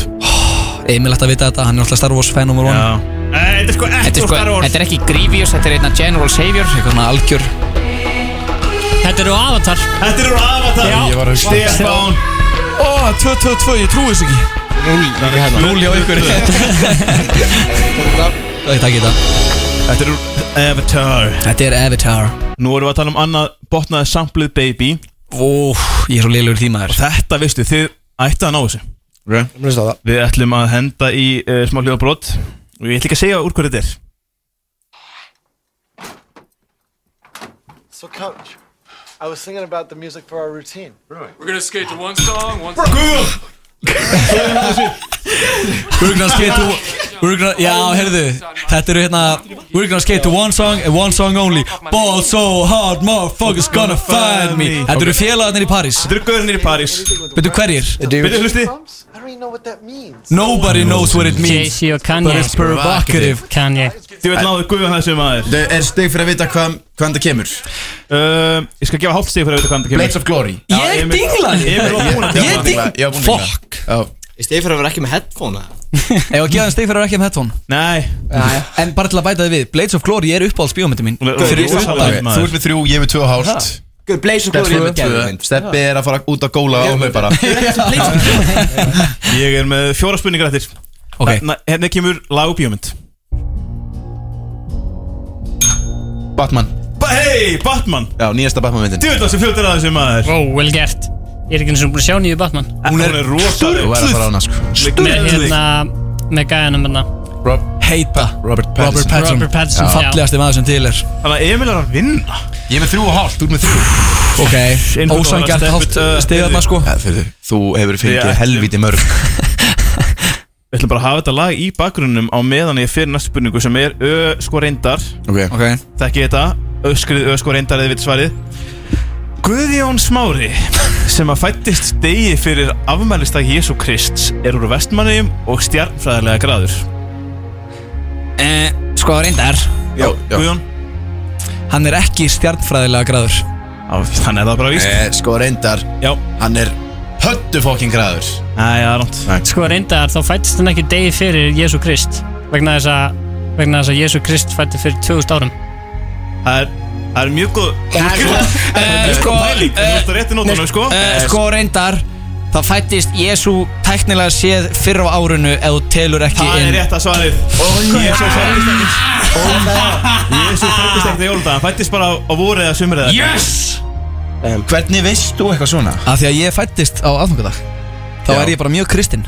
Emil ætti að vita þetta, hann er alltaf Star Wars fan nummer 1 Þetta er sko Þetta Þetta er er, sko- ekki Grievous, þetta er einna General Savior Eitthvað svona algjör Þetta eru Avatar Þetta eru Avatar Já, Ég var að hugsa- Stefán Ó, 222, ég trúi þess ekki Núl hjá ykkur Takk, takk í þetta (laughs) Þetta er úr Avatar Þetta er Avatar Nú erum við að tala um annað botnaði samplið baby Ó, ég er svo liðlegur tímaður Þetta veistu, þið ættu að ná þessu okay. Við ætlum að henda í uh, smá hljóðbrot Og ég ætla ekki að segja úr hverju þetta er So, coach, I was thinking about the music for our routine. Really? We're gonna skate to one song, one We're gonna skate to we're gonna, Já, heyrðu Þetta eru hérna We're gonna skate to one song and one song only Ball so hard, motherfuckers gonna find me Þetta eru félagarnir í París Þetta eru gaurnir í París Byrðu hverjir? Byrju hlusti I don't even know what that means. Nobody knows what it means Jay-Z og Kanye But it's provocative Kanye Þið veit náðu guðan þessu maður Það er stig fyrir að vita hvað, hvaðan það kemur uh, Ég skal gefa hálft stig fyrir að vita hvaðan það kemur Blades of Glory Ég dinglaði Emil var búinn að Ég dingla. dinglaði Fuck Í stegi fyrir að vera ekki með headphone Ef að gefa hann stig fyrir að ekki um headphone Nei En bara til að bæta þið við Blades of Glory er uppáhalds bíómyndi mín Fyrir utan Þú ert með þrjú, ég er með tvö og hálft Ha. Guð, Blaze of Glory er með geðveikt. geðvind Steppi er að fara út að góla á mig bara Ég er með fjóra spurningar eftir Ok. Hérna- Hérna kemur lag og bíómynd Batman ba Hei, Batman Já, nýjasta Batman myndin Þið veit það sem fjöldir að þessu maður Ó, vel gert Ég er ekki eins og búin að sjá nýju Batman Hún er rosaleg. Þú er að fara á hana sko Með hérna Með gæðanum hérna Rob Heita Robert Robert Pattinson Robert Pattinson, já. Fallegasti maður sem til er Þannig að Emil er að vinna Ég er með þrjú og hálft, þú er með þrjú Ok, ósangjart hálft stigaðna sko uh, Ja, fyrir, þú hefur Já. fengið helviti mörg Við ætlum bara að hafa þetta lag í bakgrunnum á meðan ég fyrir næstu spurningu sem er Ö sko reyndar Ok, okay. Þekki þetta, öskrið Ö sko reyndar eða við svarið Guðjón Smári sem að fættist degi fyrir afmælistak Jésu Krist er úr vestmanniðum og stjarnfræðarlega gráður Eh, Sko reyndar Já, já. Guðjón Hann er ekki stjarnfræðilega græður Þannig er það bara víst eh, Sko reyndar, já. hann er höldu fokkin græður Nei, það er nátt Sko reyndar þá fættist hann ekki degi fyrir Jésu Krist Vegna þess að Vegna þess að Jésu Krist fætti fyrir 2000 árum Það er, það er mjög góð (laughs) Eh, sko, Pæling, þú ert að rétti nótunum, sko Eh, Sko reyndar Það fættist Jésu tæknilega séð fyrr á árunu ef þú telur ekki Það er inn rétt að svarið Jésu fættist ekki Jésu fættist ekki í jóludag Hann fættist bara á- á vorið eða sumrið eða eitthvað. um, Hvernig veist þú eitthvað svona? Af því að ég fættist á aðfangadag Þá Já. er ég bara mjög kristinn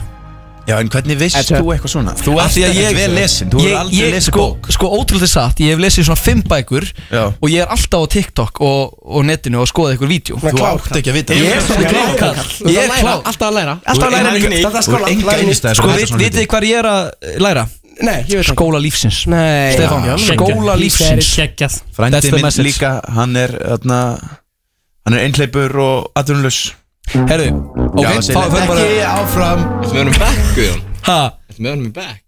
Já, en hvernig veist þú eitthvað svona? Þú Af ert því að ekki ég- vel lesin, þú ég- hefur aldrei ég- lesið sko, bók Sko ótrúlega satt, ég hef lesið svona fimm bækur Já. Og ég er alltaf á TikTok og, og netinu og skoðið einhver vídeo Þú átt ekki að vita sko- Ég er það. svona klárkall Þú Ég ert er að læra, klár alltaf að læra Alltaf að læra Þú ert líka enga- Alltaf Þú ert enga skóla innstæður Sko fyrir vit- svona vitið þið hvað ég er að eh, læra? Nei, ég veit Skóla lífsins Nei Stefán, Já, skóla geggjað. lífsins Geggjað That's Frændi the minn message. líka, hann er þarna Hann er einhleipur og atvinnulegs Herðu, ok, Já, fá- förum bara- Ekki áfram Við erum back, Guðjón Ha, Við erum back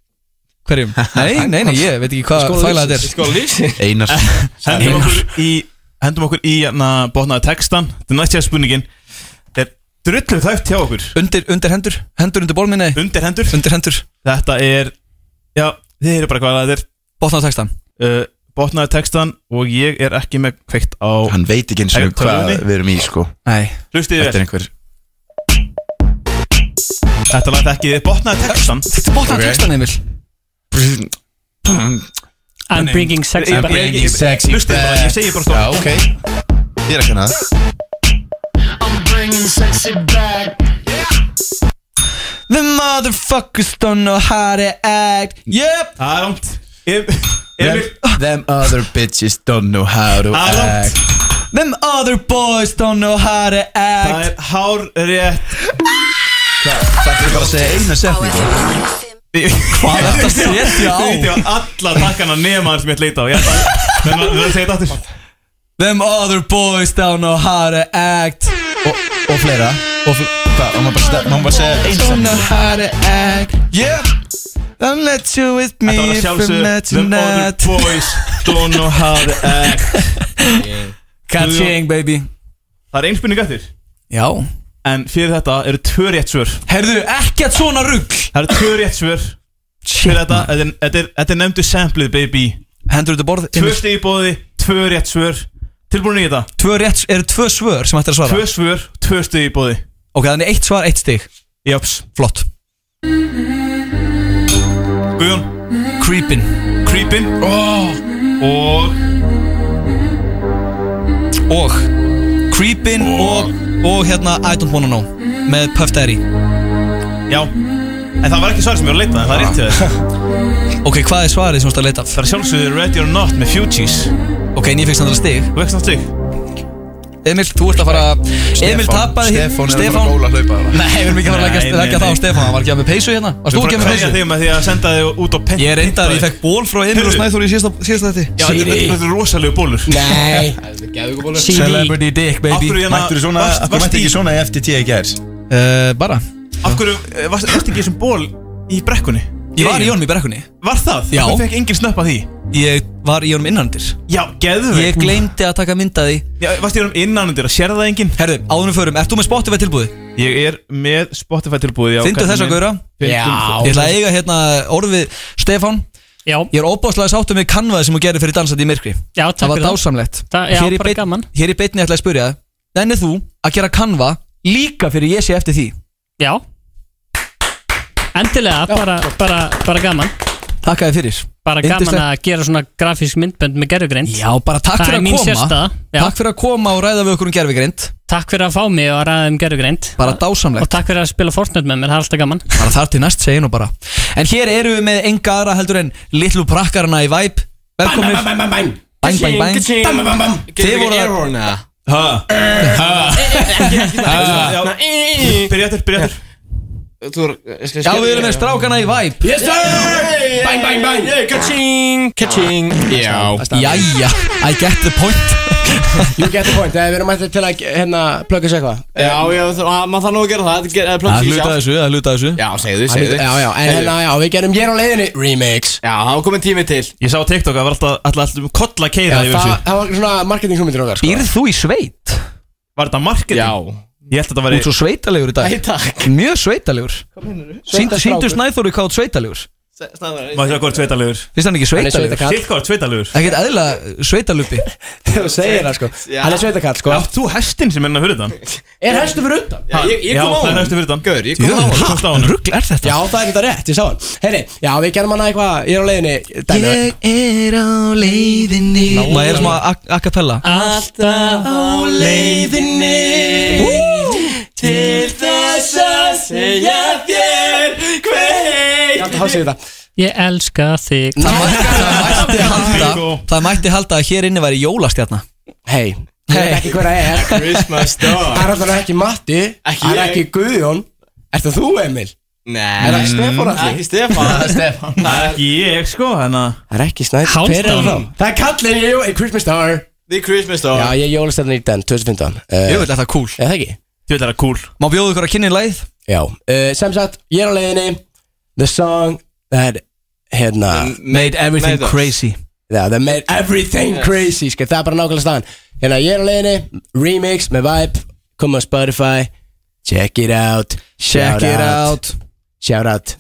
hverjum? Nei, nei, nei, ég veit ekki hvað Skóla fæla þetta lífsins, er skóla lífsins. Einar Hendum okkur í Hendum okkur í hérna botnaði textan Þetta er næst sér spurningin Þetta er drullu þægt hjá okkur Undir, undir hendur, hendur undir bólminni Undir hendur Undir hendur Þetta er Já, þið eru bara hvað þetta er Botnaði textan uh, Botnaði textan og ég er ekki með kveikt á Hann veit ekki eins og hvað Tölvunni. við erum í sko Nei Hlustið Þetta er þér einhver Þetta lag ekki þið botnaði textan Þetta botnaði Ok. textan, Emil I'm bringing sex Ég- back ég- ég- Hlustið bara, ég segi bara Já, stóð ok Ég er að kenna það I'm bringing sexy back. The motherfuckers don't know how to act Yep Það er ámt Emil Them- Them other bitches don't know how to Það er langt. act Them other boys don't know how to Það act er hár rétt Þetta er bara að segja eina setningu Hvað er þetta að setja á? Þú veit ég á alla takkana nema hann sem ég ætla að leita á Ég ætla að- Þannig að það segja þetta aftur Them other boys don't know how to act Og, og fleira Og fl hvað, maður bara, sta- má maður bara segja eina Don't know setningu how to act Yeah Don't let you with me Þetta var if að you sjálfsögðu met Them other tonight boys don't know how to act Ka-ching, baby Það er einspurning eftir Já En fyrir þetta eru tvö rétt svör Herðu, ekkert svona rugg Það eru tvö rétt svör Fyrir þetta, þetta er- þetta er, þetta er nefndu samplið baby Hendur þetta borð Tvö stegi bóði, tvö rétt svör Tilbúin í þetta Tvö rétt, eru tvö svör sem ættir að svara Tvö svör, tvö stegi bóði Ok, þannig eitt svar, eitt stig Japs Flott Guðjón Creepin Creepin oh. Og Og Creepin og, og hérna I don't wanna know Með Puff Daddy Já En það var ekki svarið sem ég var að leita en Það er rétt til þess Ok, hvað er svarið sem þú ert að leita? Það er sjálfsögðu Ready or Not með Fugees Ok, en ég fekk samtala stig Þú fekk samtala stig Emil, þú ert að fara Emil tapaði Stefán er bara að bóla að hlaupa þarna. Nei, við erum ekki að fara að leggja- Nei, nei, leggja það á nei. Stefán Hann var ekki að með peysu hérna Varst þú Við ekki að með fórum að kveðja peysu? þig með því að senda þig út á pent Ég reyndar, ég fekk ból frá Emil og Snæþór í síðasta síðasta Já, þetta þetta þetta- þetta eru rosalegu bólur Nei. CD. Celebrity dick, baby. hérna Mættur þú svona, þú mætti ekki svona í FTT í gær Uh, bara Af hverju eh, varst varst ekki í þessum ból í brekkunni? Ég var í honum í brekkunni Var það? Já. Það fekk engin snöpp að því Ég var í honum innandir Já, geðveikt. Ég gleymdi að taka mynd að því Já, varst í honum innanundir að sér það engin? Herðu, áðunum förum, ert þú með Spotify tilbúði? Ég er með Spotify tilbúið Fyndu þess að gauðra Ég ætla að eiga hérna orðið Stefán Já Ég er óbáslega sáttum við kanvaði sem þú gerir fyrir dansandi í myrkri Já, takk Það var fyrir það. dásamlegt Það- já, Hér í bara beinn- gaman. Hér í beinni ætla ég að spyrja það Nennið þú að gera kanva líka fyrir ég sé eftir því Já Endilega, bara, bara, bara gaman Takk að þið fyrir Bara gaman Yndislegt. að gera svona grafísk myndbönd með gerfugrind Já, bara takk fyrir að koma. Takk fyrir að koma og ræða við okkur um gerfugrind Takk fyrir að fá mig og ræða um gerfugrind Bara dásamlegt Og takk fyrir að spila Fortnite með mér, það er alltaf gaman Bara þar til næst seginu bara En hér eru við með enga aðra heldur en Littlu prakkarana í væp Velkomnir Bæn, bæn, bæn, bæn Bæn, bæn, Ka-ching, ka-ching. bæn Þið voru að Byrja eftir, byrja eftir Já, við erum með strákana í væp Yes, sir! Bang, bang, bang! Yeah, ka-ching, ka-ching Ah, Já Jæja, I get the point You get the point, Eh, við erum ættið til að hérna, plugga sér eitthvað Eh, Já, já, þú- að- maður þarf nú að gera það Þetta er Það plötsið hluta sjálf þessu, það hluta þessu Já, segðu, Að segðu hluta- Já, já, en hérna, já, við gerum ég á leiðinni Remix Já, það var komin tími til Ég sá á TikTok að það var alltaf, alltaf, alltaf kolla Já, keira yfir það, þessu það var svona marketing hugmyndir okkar sko. Býrð þú í sveit? Var þetta marketing? Já Ég held að þetta væri Út svo sveitalegur í dag Æ, takk. Mjög sveitalegur Sýndu sýndu Snæþóri hvað þú ert sveitalegur Má sjá hvort sveitalegur Finnst hann ekki sveitalegur? Sitt hvort sveitalegur Ekkert eðla sveitalupi (laughs) Þú segir það sko Hann er sveitakall sko Átt þú hestin sem er (laughs) hérna fyrir þann? Er hestu fyrir undan? Já, ég, ég Já, kom á það er hann hestin fyrir þann Gaur, ég kom á honum. Komst á honum. Rugl er þetta Já, það er þetta rétt, ég sá hann Heyri, já, við gerum hana eitthvað Ég er á leiðinni dæmi. Ég er á leiðinni Má ég er smá a- a cappella Alltaf á leiðinni Til þess að segja þér Hver Ég ætla að hása í þetta Ég elska þig (laughs) mætti halda Það mætti halda að hér inni væri jólastjarna Hei Ég veit ekki hver það er Christmas Það er alltaf ekki Matti Það er ég. ekki Guðjón Er það þú Emil? Nei Er það Stefán að Ekki Stefán Það er Stefán Það er ekki ég sko, þannig að Það er ekki snæð Hálfdán. Hver er það? Það er kallin í jó- í Christmas Star The Christmas Star Já, ég er jólastefnir í den 2015 Ég vil Eh, þetta cool Er það ekki? Þú veit það er cool Má bjóðu ykkur að kynni læð Já uh, Sem sagt, ég er á leiðinni The song that Hérna Made everything Made us. crazy yeah, That made everything crazy sko, Það er bara nákvæmlega staðan Hérna, ég er á leiðinni Remix með Vibe Kom á Spotify Check it out Check Shout it Shout out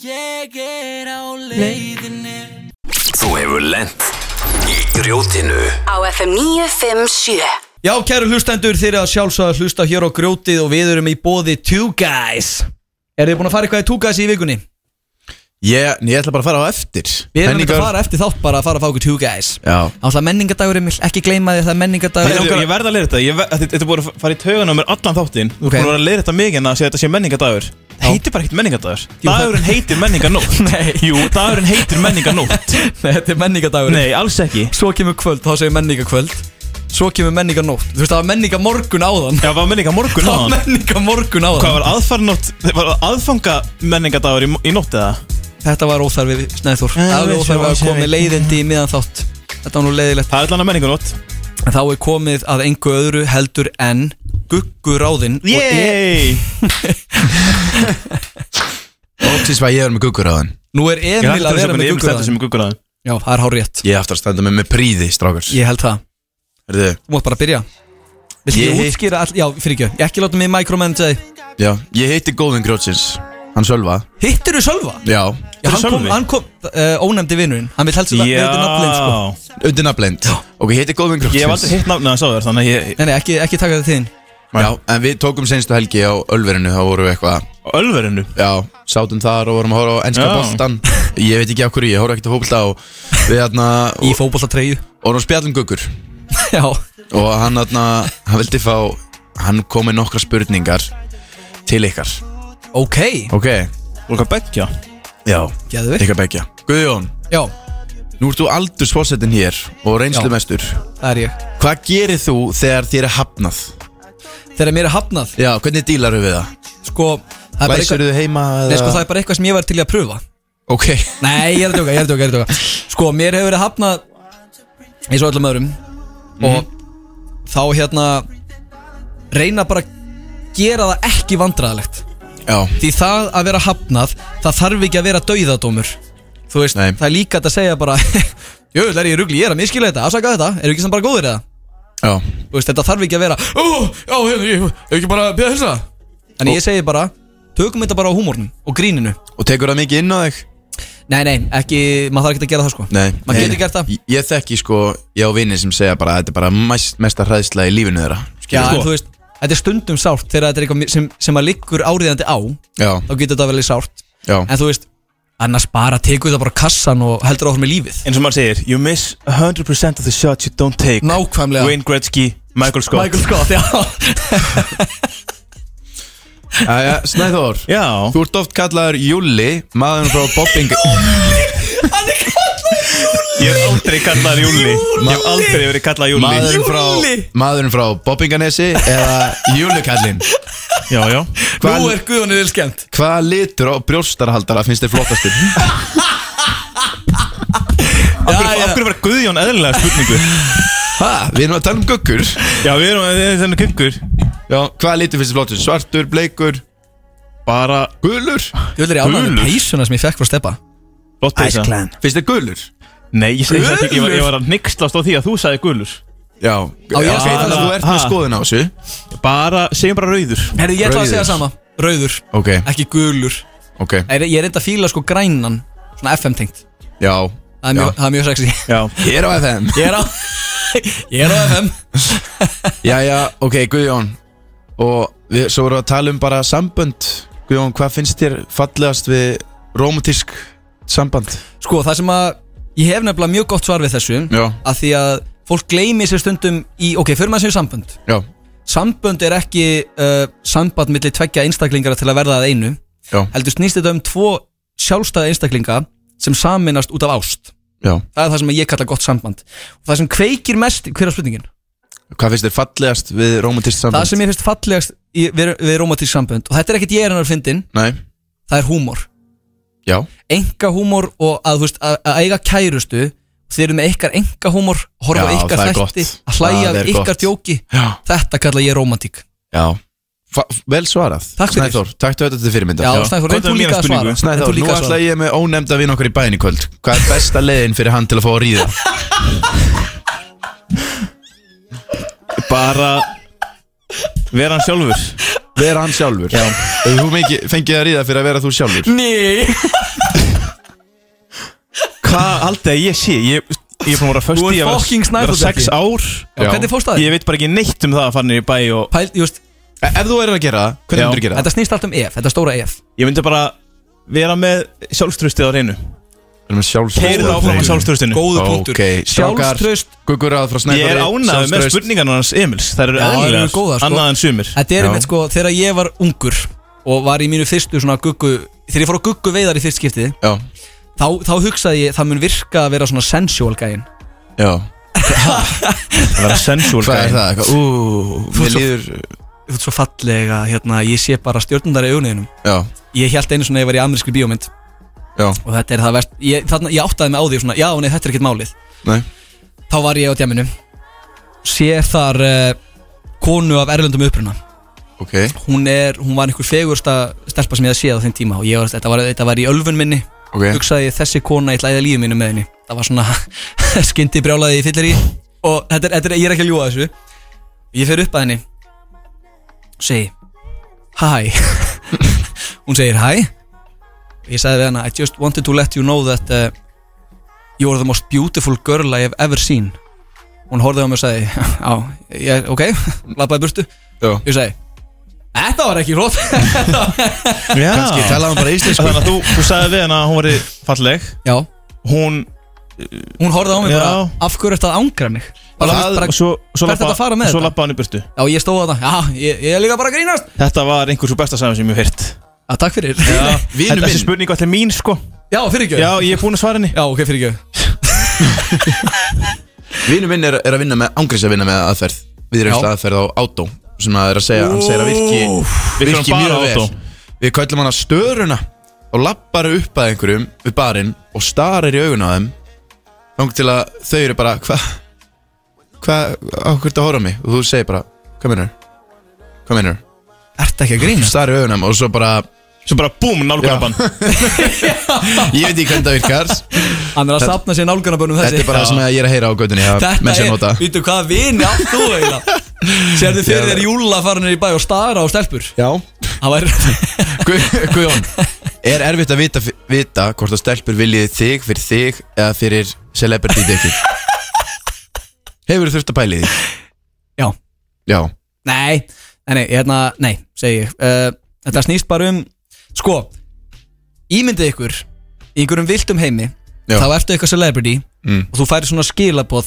Þú hefur lent í grjótinu Á FM 957 Já, kæru hlustendur, þeir eru að sjálfsögða að hlusta hér á grjótið og við erum í bóði Two Guys Eru þið búin að fara eitthvað í Two Guys í vikunni? Ég, en ég ætla bara að fara á eftir Við erum ekki að Menningar- fara eftir þátt bara að fara að fá okkur Two Guys Já Ásla menningadagur, Emil, ekki gleyma því að það er menningadagur Ég, langar, ég verð að leiða þetta Ég ver- Þetta þetta er búin að fara í taugan á mér allan þáttinn Þú er búin að vera að leiða þetta mikið en að segja þetta sé menningadagur Það heitir bara ekkert menningadagur Dagurinn heitir menninganótt (laughs) (laughs) Nei Jú, dagurinn heitir menninganótt Nei, þetta er menningadagur Nei, alls ekki Svo kemur kvöld, þá segir menningakvöld Svo kemur menningar nótt Þú veist, það var menningar morgun áðan Já, var menningar (laughs) morgun Það var menningar morgun áðan Hvað var aðfarnótt, var aðfanga menningadagur í, í nótt eða? Þetta var óþarfi Snæður Já, Alveg við óþarfi sjáum, að sjáum. komið leiðindi í miðan þátt Þetta var nú leiðilegt Það er allan að menningunótt Þá er komið að engu öðru heldur en Gugguráðin og Yay! Óttis var ég verið með guggur á hann Nú er Emil að vera með gugguraðan. gugguraðan Já, það er hár rétt Ég aftur að standa með með príði, strákars Ég held það Herðu, Þú mátt bara byrja Viltu Ég ég hitt- útskýra all... Já, fyrir ekki Ekki láta mig micromanage þig já, ég hitti góðin grjótsins Hann Sölva Hittirðu Sölva? Já Já, hann kom, hann kom uh, ónefndi vinnurinn Hann vil helst að Já. auðvitað nafnlein sko Undir nafnleind Ok, ég hitti góðin grjótsins Ég hef aldrei hitt nafnið hans áður, þannig að ég... Nei, nei, ekki, ekki taka þetta þinn Já, en við tókum senstu helgi á Ölverinu Þá vorum við eitthvað Ölverinu? Já, sátum þar og vorum að horfa á ennska Já. boltan Ég veit ekki af hverju, ég horfa ekkert á fótbolta og við hérna Í fótbolta treyju Og hann spjallum guggur (laughs) Já um Og hann hérna, hann vildi fá Hann kom með nokkra spurningar til ykkar Ok Ok Og hvað beggja? Já, Geðveikt. ykkar beggja Guðjón Já Nú ert þú aldur svossetin hér og reynslumestur Það er ég Hvað gerir þú þegar þér er hafnað? Þegar mér er hafnað Já, hvernig dílar við það? Sko það er bara Læsirðu eitthvað- heima Nei, eða- sko, það er bara eitthvað sem ég var til í að pröfa Ok (laughs) Nei, ég er að djóka, ég er að djóka, ég er að djóka Sko, mér hefur verið hafnað eins og öllum öðrum Mhm. Og þá hérna reyna bara að gera það ekki vandræðalegt Já Því það að vera hafnað, það þarf ekki að vera dauðadómur Þú veist, það er líka hægt að segja bara (laughs) Jú, það er ég rugli, ég er að miskila þetta, afsaka þetta Eru ekki sem bara góðir eða? Já Þú veist, þetta þarf ekki að vera Ó, já, hérna, ég hef ekki bara að byrja að hilsa En ég segi bara, tökum þetta bara á húmórnum og gríninu Og tekur það mikið inn á þig? Nei, nei, ekki, maður þarf ekki að gera það sko Nei Maður getur gert það Ég, ég þekki sko, ég á vini sem segja bara að þetta er bara mest, mesta hræðsla í lífinu þeirra Já, Skilur en þú veist, þetta er stundum sárt þegar þetta er eitthvað sem, sem að liggur áriðandi á Já. þá getur þetta velið sárt Já. en þú veist, annars bara tekur þetta bara á kassan og heldur áfram í lífið Eins og maður segir, you miss 100% of the shots you don't take Nákvæmlega. Wayne Gretzky, Michael Scott Michael Scott, já Æja, Snæþór Já Þú ert oft kallaður Júli, maðurinn frá Bobbing (laughs) Ég hef aldrei kallaður Júli Ég hef aldrei verið kallaður Júli Maðurinn frá, maðurinn frá Bobbinganesi eða Júlikallinn Já, já Nú er Guðjónið vil skemmt Hvaða litur á brjóstarhaldara finnst þér flottastur? Af hverju- af hverju var Guðjón eðlilega spurningu? (laughs) Hæ, við erum að tala um guggur Já, við erum að tala um guggur Já, hvaða litur finnst þér flottastur? Svartur, bleikur? Bara Gulur? Ég vil er ánægð með peysuna sem ég fekk frá Steppa Flott peysa. Ice Clan. Finnst þér gulur? Nei, ég segi þetta ekki, ég var, ég var að nixlast á því að þú sagði gulur Já, Á, ég segi það. þú ert með skoðun á þessu Bara, segjum bara rauður Herri, ég ætla að segja sama, rauður Ok, ekki gulur ok Nei, Ég er reynda að fíla sko grænan, svona FM tengt Já Það er mjög- Já. það er mjög sexy Já Ég er á FM Ég er á, (laughs) ég er á FM Jæja, ok, Guðjón Og við, svo vorum við að tala um bara sambönd Guðjón, hvað finnst þér fallegast við romantísk samband? Sko það sem að ég hef nefnilega mjög gott svar við þessu Já. að því að fólk gleymi sér stundum í, ok, fyrir maður sér sambönd Já. Sambönd er ekki uh, samband millir tveggja einstaklingar til að verða að einu Já. heldur snýst þetta um tvo sjálfstæða einstaklinga sem saminast út af ást Já. það er það sem ég kalla gott samband og það sem kveikir mest, hver er spurningin? Hvað finnst þér fallegast við romantísk það samband? sem ég finnst fallegast í, við, við romantísk sambönd og þetta er ekkert ég er hennar fyndin Nei, það er húmor já, enga húmor og að, þú veist, að, að eiga kærustu þeir eru með ykkar enga húmor horfa á Já, ykkar það er þætti, gott. að hlæja Það af er ykkar gott. djóki Já. þetta kalla ég romantík já Fa Vel svarað Takk fyrir. Snæþór, takk fyrir þetta fyrirmynda Já, Snæþór, reyndu Komdu með líka að mína svara. spurningu. Reyndu Snæþór, líka nú að ætla svara. ég með ónefnda vinn okkar í bæin í kvöld Hvað er besta leiðin fyrir hann til að fá að ríða? Bara Vera hann sjálfur Vera hann sjálfur Já Hefur þú mikið- fengið að ríða fyrir að vera þú sjálfur? Nei Hvað aldrei ég sé Ég, ég er búin að vera föst Þú í ert að vera- fucking vera Snæfellsbakki. 6 ár Já. Hvernig fórstu að því? Ég veit bara ekki neitt um það að fara niður í bæ og Pæl, just, Ef þú erir að gera það, hvernig myndir gera það? þetta snýst allt um ef, þetta stóra ef Ég myndi bara vera með sjálfströstið á reynu Keyrið áfram á sjálfstraustinu. Góðu punktur. Sjálfstraust- Sjálfstraust Gugur að frá Ég snæðari er ánægð með spurningarnar hans Emils Það eru Já, þær eru eðlilegar, góðar, sko. annað en sumir þetta er einmitt sko, þegar ég var ungur og var í mínu fyrstu svona guggu þegar ég fór á guggu veiðar í fyrst skiptið Já. þá, þá hugsaði ég, það mun virka að vera svona sensual gæin Já Það verður sensual Hvað er gæinn. það? Eitthvað, Ú, Þú mér ert svo- líður Þú ert svo fallega, hérna, ég sé bara stjórnundar í augunniðinum Já. Ég held einu svona að ég var í amerískri bíómynd Já. Og þetta er það verst ég, þarna, ég áttaði mig á því svona, já, nei, þetta er ekkert málið Nei. Þá var ég á djaminu Sé þar uh, konu af erlendum uppruna Ok. Hún er, hún var einhver fegursta stelpa sem ég hafði séð á þeim tíma Og ég var, þetta var, þetta var í ölfun minni Ok. Hugsaði ég þessi kona, ég ætla að eyða lífi mínu með henni Það var svona (laughs) skyndi brjálaði í fyllir í Og þetta er, þetta er, ég er ekki að ljúga þessu Ég fer upp að henni Segi Hi (laughs) Hún segir hi Ég sagði við hana I just wanted to let you know that uh, You are the most beautiful girl I have ever seen Hún horfði á mig og sagði Já, ég, ok, (laughs) lappaði burtu Já. Ég sagði Þetta var ekki hrótt Kannski talaði hún bara íslensku. Þannig að þú, þú sagði við henn að hún væri falleg (laughs) Já Hún Hún horfði á mig bara Já. Af hverju ertu að ángra mig? Bara, Það- bara, svo- svo hvert labba- ertu að fara með Svo þetta? lappa hann í burtu Já, ég stóð að það Já, ég, ég er líka bara að grínast Þetta var einhver svo besta sæðum sem ég hef heyrt Já, takk fyrir (laughs) Já, Vinur Þessi minn. spurning var allir mín sko Já, fyrirgjöf Já, ég er búinn að svara henni Já, ok, fyrirgjöf Vinnu minn er, er að vinna með Ángriðs að vinna með aðferð Viðrjöfsla aðferð á Átó Sem að er að segja, hann segir að virki Virkar Virki hann bara mjög Átó? vel Við kallum hann að störuna Og lappar upp að einhverjum Við barinn og starir í augun á þeim Þang til að þau eru bara Hvað, hvað, á hverju ertu að horfa á mig Og þú segir bara, hvað minnur Hvað minnur Ertu ekki að grína? Starir í augun á þeim og svo bara Svo bara búm, nálgunarbann Ég veit ekki hvernig það virkar Hann er að Þetta- safna sér nálgunarbönnum þessi Þetta er bara það sem ég er að heyra á göttunni að menn sé að Þetta nota. er, vítu hvaða vini átt þú (laughs) eiginlega Serðu fyrir þér júla farinir í bæ og stara á stelpur Já Það var Guð- Guðjón, er erfitt að vita, vita hvort að stelpur viljið þig fyrir þig eða fyrir celebrity dekki? Hefur þú þurft að pæli því? Já Já, Nei, nei, nei, hérna, nei, segi ég uh, Þetta snýst bara um Sko, ímyndið ykkur Í einhverjum viltum heimi Já. Þá ertu eitthvað celebrity Mm. Og þú færir svona skilaboð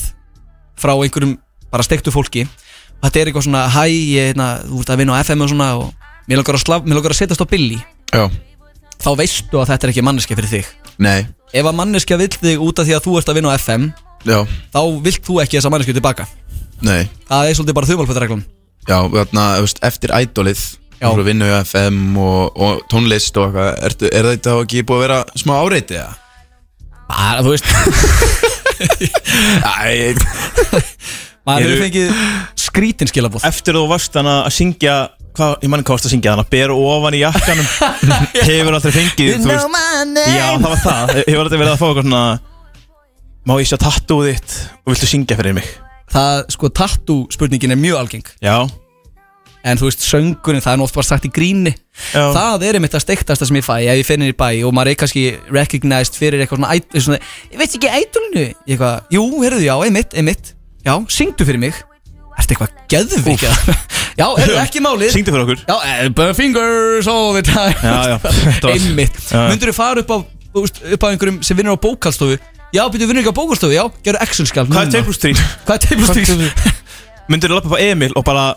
Frá einhverjum bara stektu fólki Og þetta er eitthvað svona Hæ, ég, hérna, þú ert að vinna á FM og svona og Mér langar að, slaf, mér langar að setjast á billi já, Þá veistu að þetta er ekki manneskja fyrir þig nei, Ef að manneskja vill þig út af því að þú ert að vinna á FM já, Þá vilt þú ekki þessa manneskju tilbaka nei Það er svolítið bara þumalfættareglum Já, þarna, þú veist, eftir ædolið Já. Þú vinnu í FM og, og tónlist og eitthvað Ertu- Er þetta þá ekki búið að vera smá áreiti eða? Bara, þú (laughs) veist Æ Maður Eru- hefur fengið skrítin skilabóð Eftir þú varst hann að syngja Hvað, ég mann hvað varst að syngja þannig að bera ofan í jakkanum (laughs) Hefur aldrei fengið You þú know veist- my name. Já, það var það Hefur aldrei verið að fá eitthvað svona Má ég sjá tattooð þitt og viltu syngja fyrir mig Það, sko, tattoo spurningin er mjög algeng Já En þú veist, söngurinn, það er nú oft bara sagt í gríni Já. Það er einmitt að steiktasta sem ég fæ Ef ég finn henni í bæ og maður er kannski recognized Fyrir eitthvað svona, æt- svona Ég veit ekki ætlunu eitthvað, Jú, heyrðu, já, einmitt, einmitt Já, syngdu fyrir mig Ertu eitthvað geðvik eða? (laughs) Já, (laughs) heyrðu, ekki málið Syngdu fyrir okkur Já, eh, burn fingers all the time Já, (laughs) já, þetta var- Einmitt Já, já. Myndur þú fara upp á, þú veist, upp á einhverjum sem vinnur á bókaldstofu Já, byrju vinnur ekki á bókaldstofu, já, gerðu Excel-skjál Hvað er 2 plus 3? Hvað er 2 plus 3? Myndur þú lappa upp á Emil og bara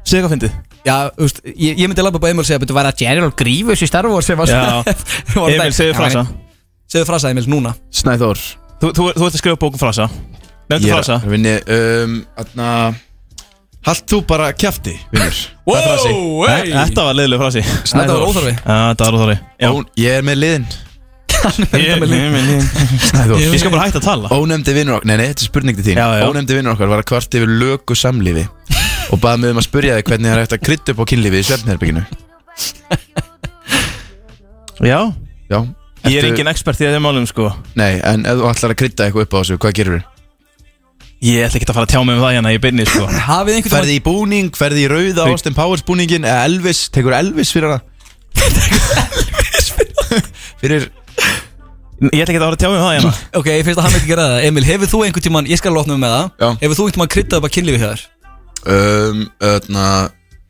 Segðu hvað fyndið Já, þú veist, ég, ég myndi labba upp á Emil og segja Byrju, var það General Grievous í Star Wars sem var Já. (laughs) Var það- Emil, segðu Já, frasa. nei. Segðu frasa, Emil, núna Snæþór Þú, þú, þú ert að skrifa bókum frasa Nefndu Ég er frasa að vinni um, atna, Halt þú bara kjafti, vinnur Wow, hey. Þetta var leiðileg frasi Þetta var óþarfi. Já, Þetta var óþarfi Já. Ó, Ég er með liðin Ég er með liðin Snæður. Ég skal bara hætta að tala Ónefndi vinnur okkar, nei, nei, þetta er spurning til þín Já, já. Ónefndi vinnur okkar var að kvart yfir lögu samlífi Og baði mig um að spurja þig hvernig það er hægt að krydda upp á kynlífi í svefnherbygginu Já Já Ég er engin expert í þeim málum sko Nei, en ef þú ætlar að krydda eitthvað upp á þessu, hvað gerir við? Ég ætla ekki að fara að tjá mig um það hérna í byrni sko Hafið einhvern Ferði í búning, ferði í rauða Nei. Austin Powers búningin Eða Elvis, tekur Elvis fyrir hana Fyrir Ég ætla ekki að fara að tjá mig um það hérna Ok, ég finnst að hann ekki gera það Emil, hefur þú einhvern tímann, ég skal lotna um með það Já. Hefur þú einhvern tímann kryddað upp að kynlífi hjá þér? um, öðna,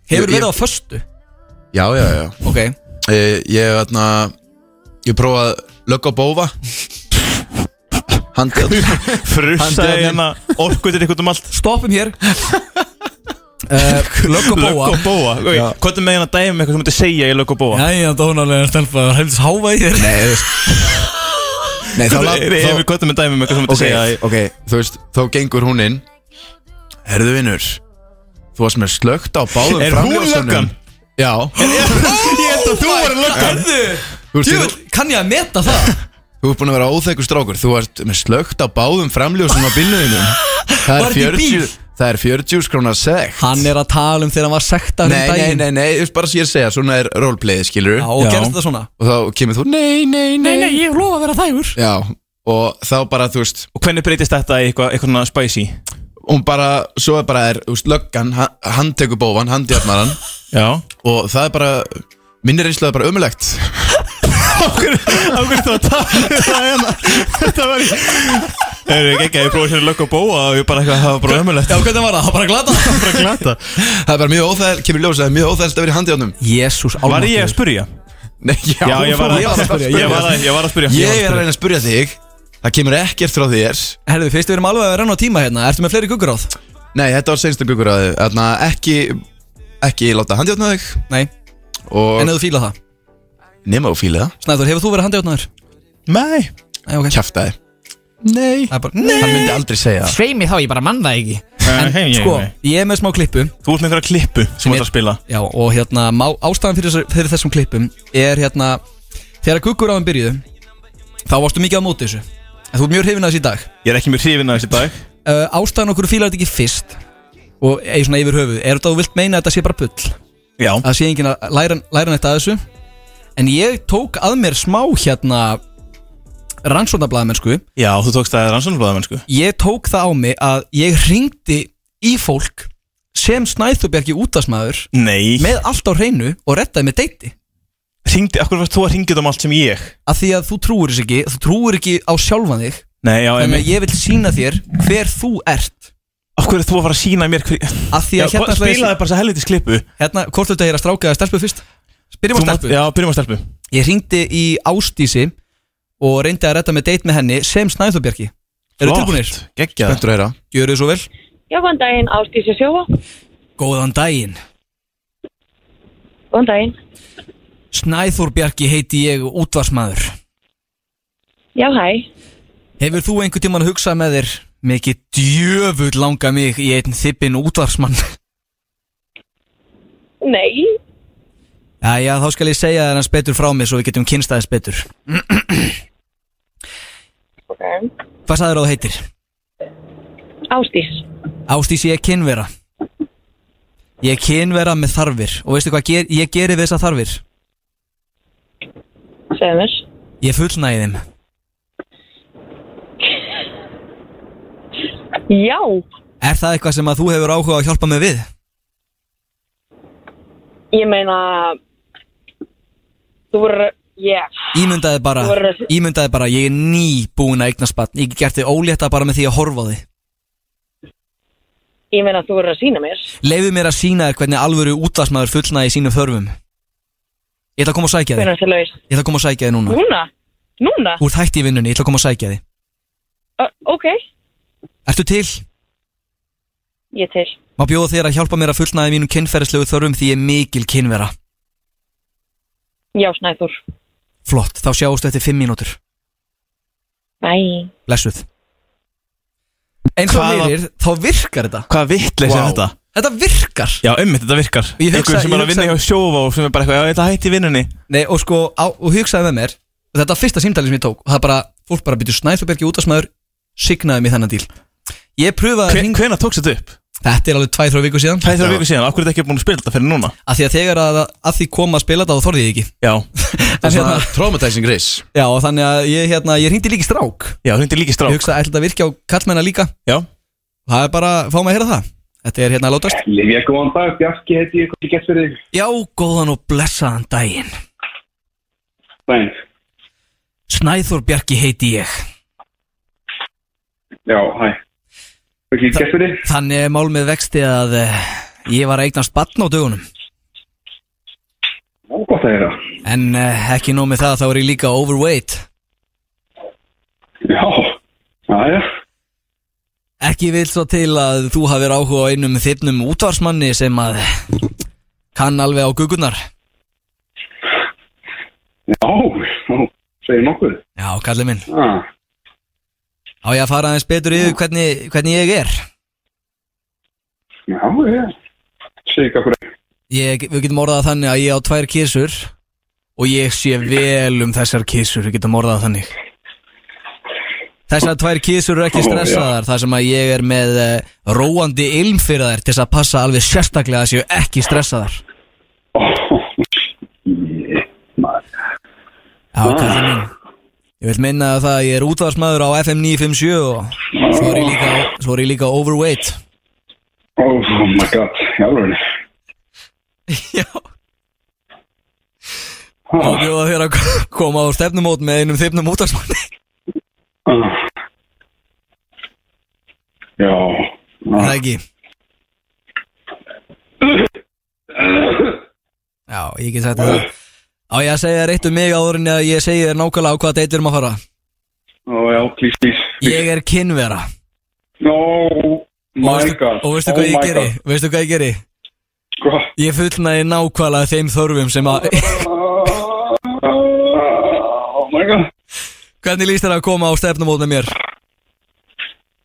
Hefur Ég- ég- verið á föstu? Já, já, já Ok Ég, Eh, ég, öðna, ég prófaði lögg á bófa Handjátt Frussaði hérna orkutir ykkur um Sko, allt Stoppum hér uh, Lögg og bóa Lögg og bóa ok, Já. Hvað er með hérna dæmi með eitthvað sem þú myndir segja í lögg og bóa (laughs) Jæja, dónalega stelpa, helst háfa í þér Nei, þú veist Nei, þá lab- Ég þá- hef gott með dæmi með eitthvað sem þetta Ok, segja í- ok, þú veist, þá gengur hún inn Herðu vinnur Þú varst með slögt á báðum Er hún framljósunum. löggan? Já Ég held að þú var löggan Djúvill, kann ég að meta það Þú ert búin að vera óþekkur strákur Þú ert með slögt á báðum framljósum á bílnuðinu Það Var er þetta í 40 bíl? Það er 40 skrónar sekt Hann er að tala um þegar hann var sektar Nei, nei, nei, nei, þú veist bara sér að segja Svona er roleplayið, skilur Já, og gerðist þetta svona? Og þá kemur þú, nei, nei, nei nei, ég lofa að vera þægur Já, og þá bara, þú veist Og hvernig breytist þetta í eitthvað, eitthvað svona spicy? Og bara, svo er bara, er, þú veist, löggan ha- Hann tekur bófan, hann djarnar hann Já Og það er bara, minni reynslu er bara ömulegt Ákveður þú að tala (laughs) það hérna Þetta var í Það eru ekki að ég prófa sér að lögga og bóa og ég bara eitthvað, það var bara ömulegt Já, hvernig var það? Það var bara (laughs) glata Það var bara glata Það er bara mjög óþægilegt, kemur ljósa, það er mjög óþægilegt að vera í handjánum Jésús, Var ég að spurja? Nei, já, Já, ég var að- ég var að- ég var að spyrja. Ég er að reyna að spyrja þig Það kemur ekkert frá þér Herðu, fyrst við erum alveg að renna á tíma hérna Ertu með fleiri gugguráð? Nei, þetta var senstu gugguráðu Þarna ekki Ekki láta handjátna þig Nei Og En ef þú fíla það? Nema þú fíla það Snæður, hefur þú verið handjátnaður? Nei Nei, ok Kjaftaði Nei Það er bara, nei Hann myndi aldrei segja það Sveimi þá, ég bara mann það ekki Nei, En nei, nei, sko, nei. ég er með smá klippu Þú ert með einhverja klippu sem þú ert að spila Já, og hérna, má, ástæðan fyrir, þessar- fyrir þessum klippum er hérna Þegar gugguráðin byrjuðu Þá varstu mikið á móti þessu En þú ert mjög hrifin að þessu í dag Ég er ekki mjög hrifin að þessi dag uh, Ástæðan okkur þú fílar þetta ekki fyrst Og eigi svona yfir höfuð Er þetta að þú vilt meina að þetta sé bara bull? Já Að sé enginn að læra, læra neitt að þessu En ég tók að mér smá hérna Rannsóndablaðamennsku Já, þú tókst það rannsóknarblæðamenn sko Ég tók það á mig að ég ringdi í fólk sem Snæðubergi útasmaður Nei Með allt á hreinu og rettaði með deiti Ringdi, akkur varst þú að ringið um allt sem ég Af því að þú trúir þess ekki, þú trúir ekki á sjálfan þig Nei, já, Þannig einmitt. að ég vil sína þér hver þú ert Akkur er þú að fara að sína mér hver Af því að Já, hérna spilaðu bara þessa helvitis klippu Hérna, hvort þetta er að stráka eða stelpu fyrst? Byrjum á Þú mátt- stelpu Já, byrjum á stelpu Ég ringdi í Ástísi og reyndi að retta með deit með henni sem Snæðubergi Eru Flott, tilbúinir? geggjað. Spenntur að heyra Gjöru þið svo vel Já, góðan daginn, Ástísi Sjóa. Góðan daginn Góðan daginn. Snæður Bjarki heiti ég útvarsmaður Já, hæ. Hefur þú einhvern tíman hugsað með þér Mikið djöfull langa mig í einn þippin útvarsmann Nei. Jæja, þá skal ég segja þér hans betur frá mig Svo við getum kynstaðis betur Ok. Hvað sagður þú heitir? Ástís. Ástís ég er kynvera Ég er kynvera með þarfir Og veistu hvað ger, ég geri við þessar þarfir? Segðu mér. Ég fullnægi þeim Já. Er það eitthvað sem að þú hefur áhuga að hjálpa mig við? Ég meina... Þú voru... Yeah. Ímyndaði bara, Þú verður- ímyndaði bara Ég er ný búin að eignast batn Ég gert þig ólétta bara með því að horfa á þig Ég meina þú voru að sína mér. Leiðu mér að sína þér hvernig alvöru útvarsmaður fullnægi sínum þörfum Ég ætla að koma að sækja þig Hvernig það laus? Ég ætla að koma að sækja þig núna Núna? Núna? Þú ert hætt í vinnunni, ég ætla að koma að sækja þig Uh, ok. Ertu til? Ég til. Má bjóða þér að hjálpa mér að fullnægi mínum kynferðislegu þörfum því ég er mikil kynvera Já, Snæður. Flott, þá sjáumstu eftir 5 mínútur Bye. Blessuð Eins og Hvaða- meirir, þá virkar þetta Hvað vittlegs er þetta? Þetta virkar Já, ummið, þetta virkar Ég hugsa- Einhver sem ég er að vinna hjá hugsa- sjófa og sem er bara eitthvað, já, ég ætla að hætti vinnunni Nei, og sko, á, og hugsaði með mér Þetta var fyrsta símdæli sem ég tók Og það bara, fólk bara byrjuð Snæðurbergi útasmaður Signaði mig þennan díl Ég pröfaði Hven, Hvenær tókst þetta upp? Þetta er alveg 2-3 viku síðan Það er það viku síðan, akkur er þetta ekki búin að spila þetta fyrir núna? Af því að þegar að, að því kom að spila þetta þá þorði ég ekki Já (laughs) Það er svona traumatizing risk Já, og þannig að ég, hérna, ég hringdi líki strák Já, hringdi líki strák Ég hugsaði, ætla þetta virki á kallmennar líka Já Það er bara, fá mig að heyra það Þetta er hérna að látast Livja, góðan dag, Bjarki heiti ég, hvað er gett fyrir þig? Já, góðan og blessaðan daginn Dæn, Snæður Bjarki heiti ég já, hæ. Hvað er gett fyrir þig? Þannig er mál með vexti að eh, ég var að eignast batn á dögunum Já, gott að heyra. En eh, ekki nóg með það, þá er ég líka overweight Já, aðja, Ekki vil svo til að þú hafir áhuga á einum þinnum útvarsmanni sem að kann alveg á gugunar já, já, segir nokkuð. Já, kallið minn Ah, Á ég að fara aðeins betur yfir hvernig, hvernig ég er já, ég sé ekki okkur. ég, Við getum orðað það þannig að ég á tvær kísur Og ég sé vel um þessar kísur Við getum orðað það þannig Þessar tvær kísur eru ekki Ó, já. stressaðar Þar sem að ég er með uh, róandi ilm fyrir þær Til þess að passa alveg sérstaklega að séu ekki stressaðar Já, kallið minn Ég vil minna á það að ég er útvarsmaður á FM 957 og svo er ég líka, svo er ég líka overweight Oh my god, í alveg. og Ah, bjóða þér að (laughs) koma á stefnumót með einum þyfnum útvarsmanni ah. Já. Er Ah, Það ekki Já, ég get sagt þér það Á ég að segja þér eitt um mig áður en að ég segi þér nákvæmlega á hvað deitt við erum að fara Ó, já, please, please. Ég er kynvera No, my god. Og veistu Oh hvað ég my geri? God. Sko. Veistu hvað ég geri? Hvað? Ég fullnaði nákvæmlega þeim þörfum sem að Oh my god. Hvernig líst þér að koma á stefnumót með mér?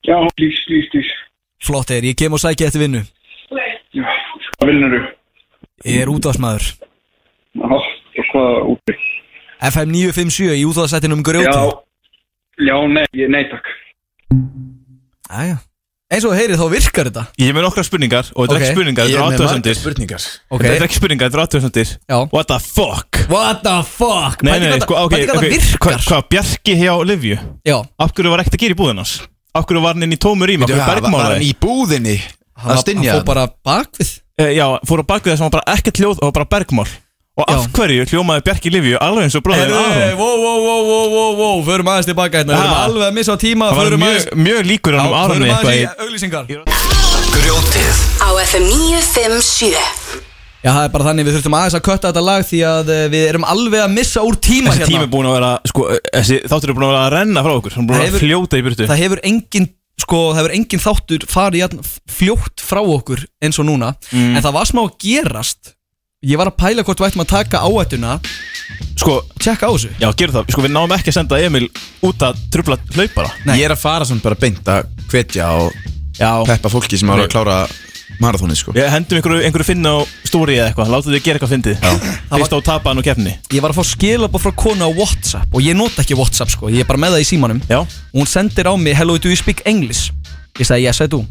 Já, please, please, please. Flott er, ég kem og sækja eftir vinnu Já, hvað vinnur þú? Ég er útvarsmaður Já, og hvað úti? FM 957 í útvarsættinum grjóti Já, já, nei, ég- nei, takk. Æja Eins og heyrið þá virkar þetta Ég er með nokkra spurningar og þetta er Ok. ekki Ég spurningar, er þetta er með aðtöðsendir margar spurningar. Ok. Þetta er ekki spurningar, þetta er aðtöðsendir What the fuck? What the fuck? Nei, Pældi hvað nei, nei, það- sko, ok, pældi hvað það ok, virkar. Hvað, hvað Bjarki hjá Livju? Já Af hverju var ekkert að gera í búðin hans? Af hverju var hann inn í tómur rým? Af Veitu, hverju ha, var- bergmálaði? var hann í búðinni að stynja hann? bakvið? Eh, Já, fór á bakvið þess að hann bara ekkert hljóð og bara bergmál Og af hverju hljómaði Bjarki Livju alveg eins og bróðið Hey, Aron? wow, wow, wow, wow, wow, wow, förum aðeins tilbaka hérna, við erum Ha? alveg að missa á tíma Hann var förum mjög- aðeins- mjög líkur Já, honum Aroni förum aðeins eitthvað í auglýsingar Grjótið Á FM 957 Já, það er bara þannig, við þurfum aðeins að kötta þetta lag því að eh, við erum alveg að missa úr tíma Þessi tími hérna er búin að vera, sko, þessi þáttur er búin að vera að renna frá okkur Hann er búin að vera að fljóta í burtu Það hefur engin, sko, það hefur engin þáttur farið jafn fljótt frá okkur eins og núna En það var smá að gerast Ég var að pæla hvort við ættum að taka áættuna Sko, tjekka á þessu Já, gerum það, sko, við náum ekki að senda Emil út að trubla hlaupara Ég er að fara samt bara beint að hvetja og peppa fólki sem ára að klára marathónið sko Ég hendum einhverju, einhverju finna á stóri eða eitthvað Láttu þið gera eitthvað fyndið Fyrst á tapaðan og keppni Ég var að fá skilabóð frá konu á Whatsapp Og ég nota ekki Whatsapp sko, ég er bara með það í símanum Já. Og hún sendir á mig, hello do you speak English Ég sagði yes I do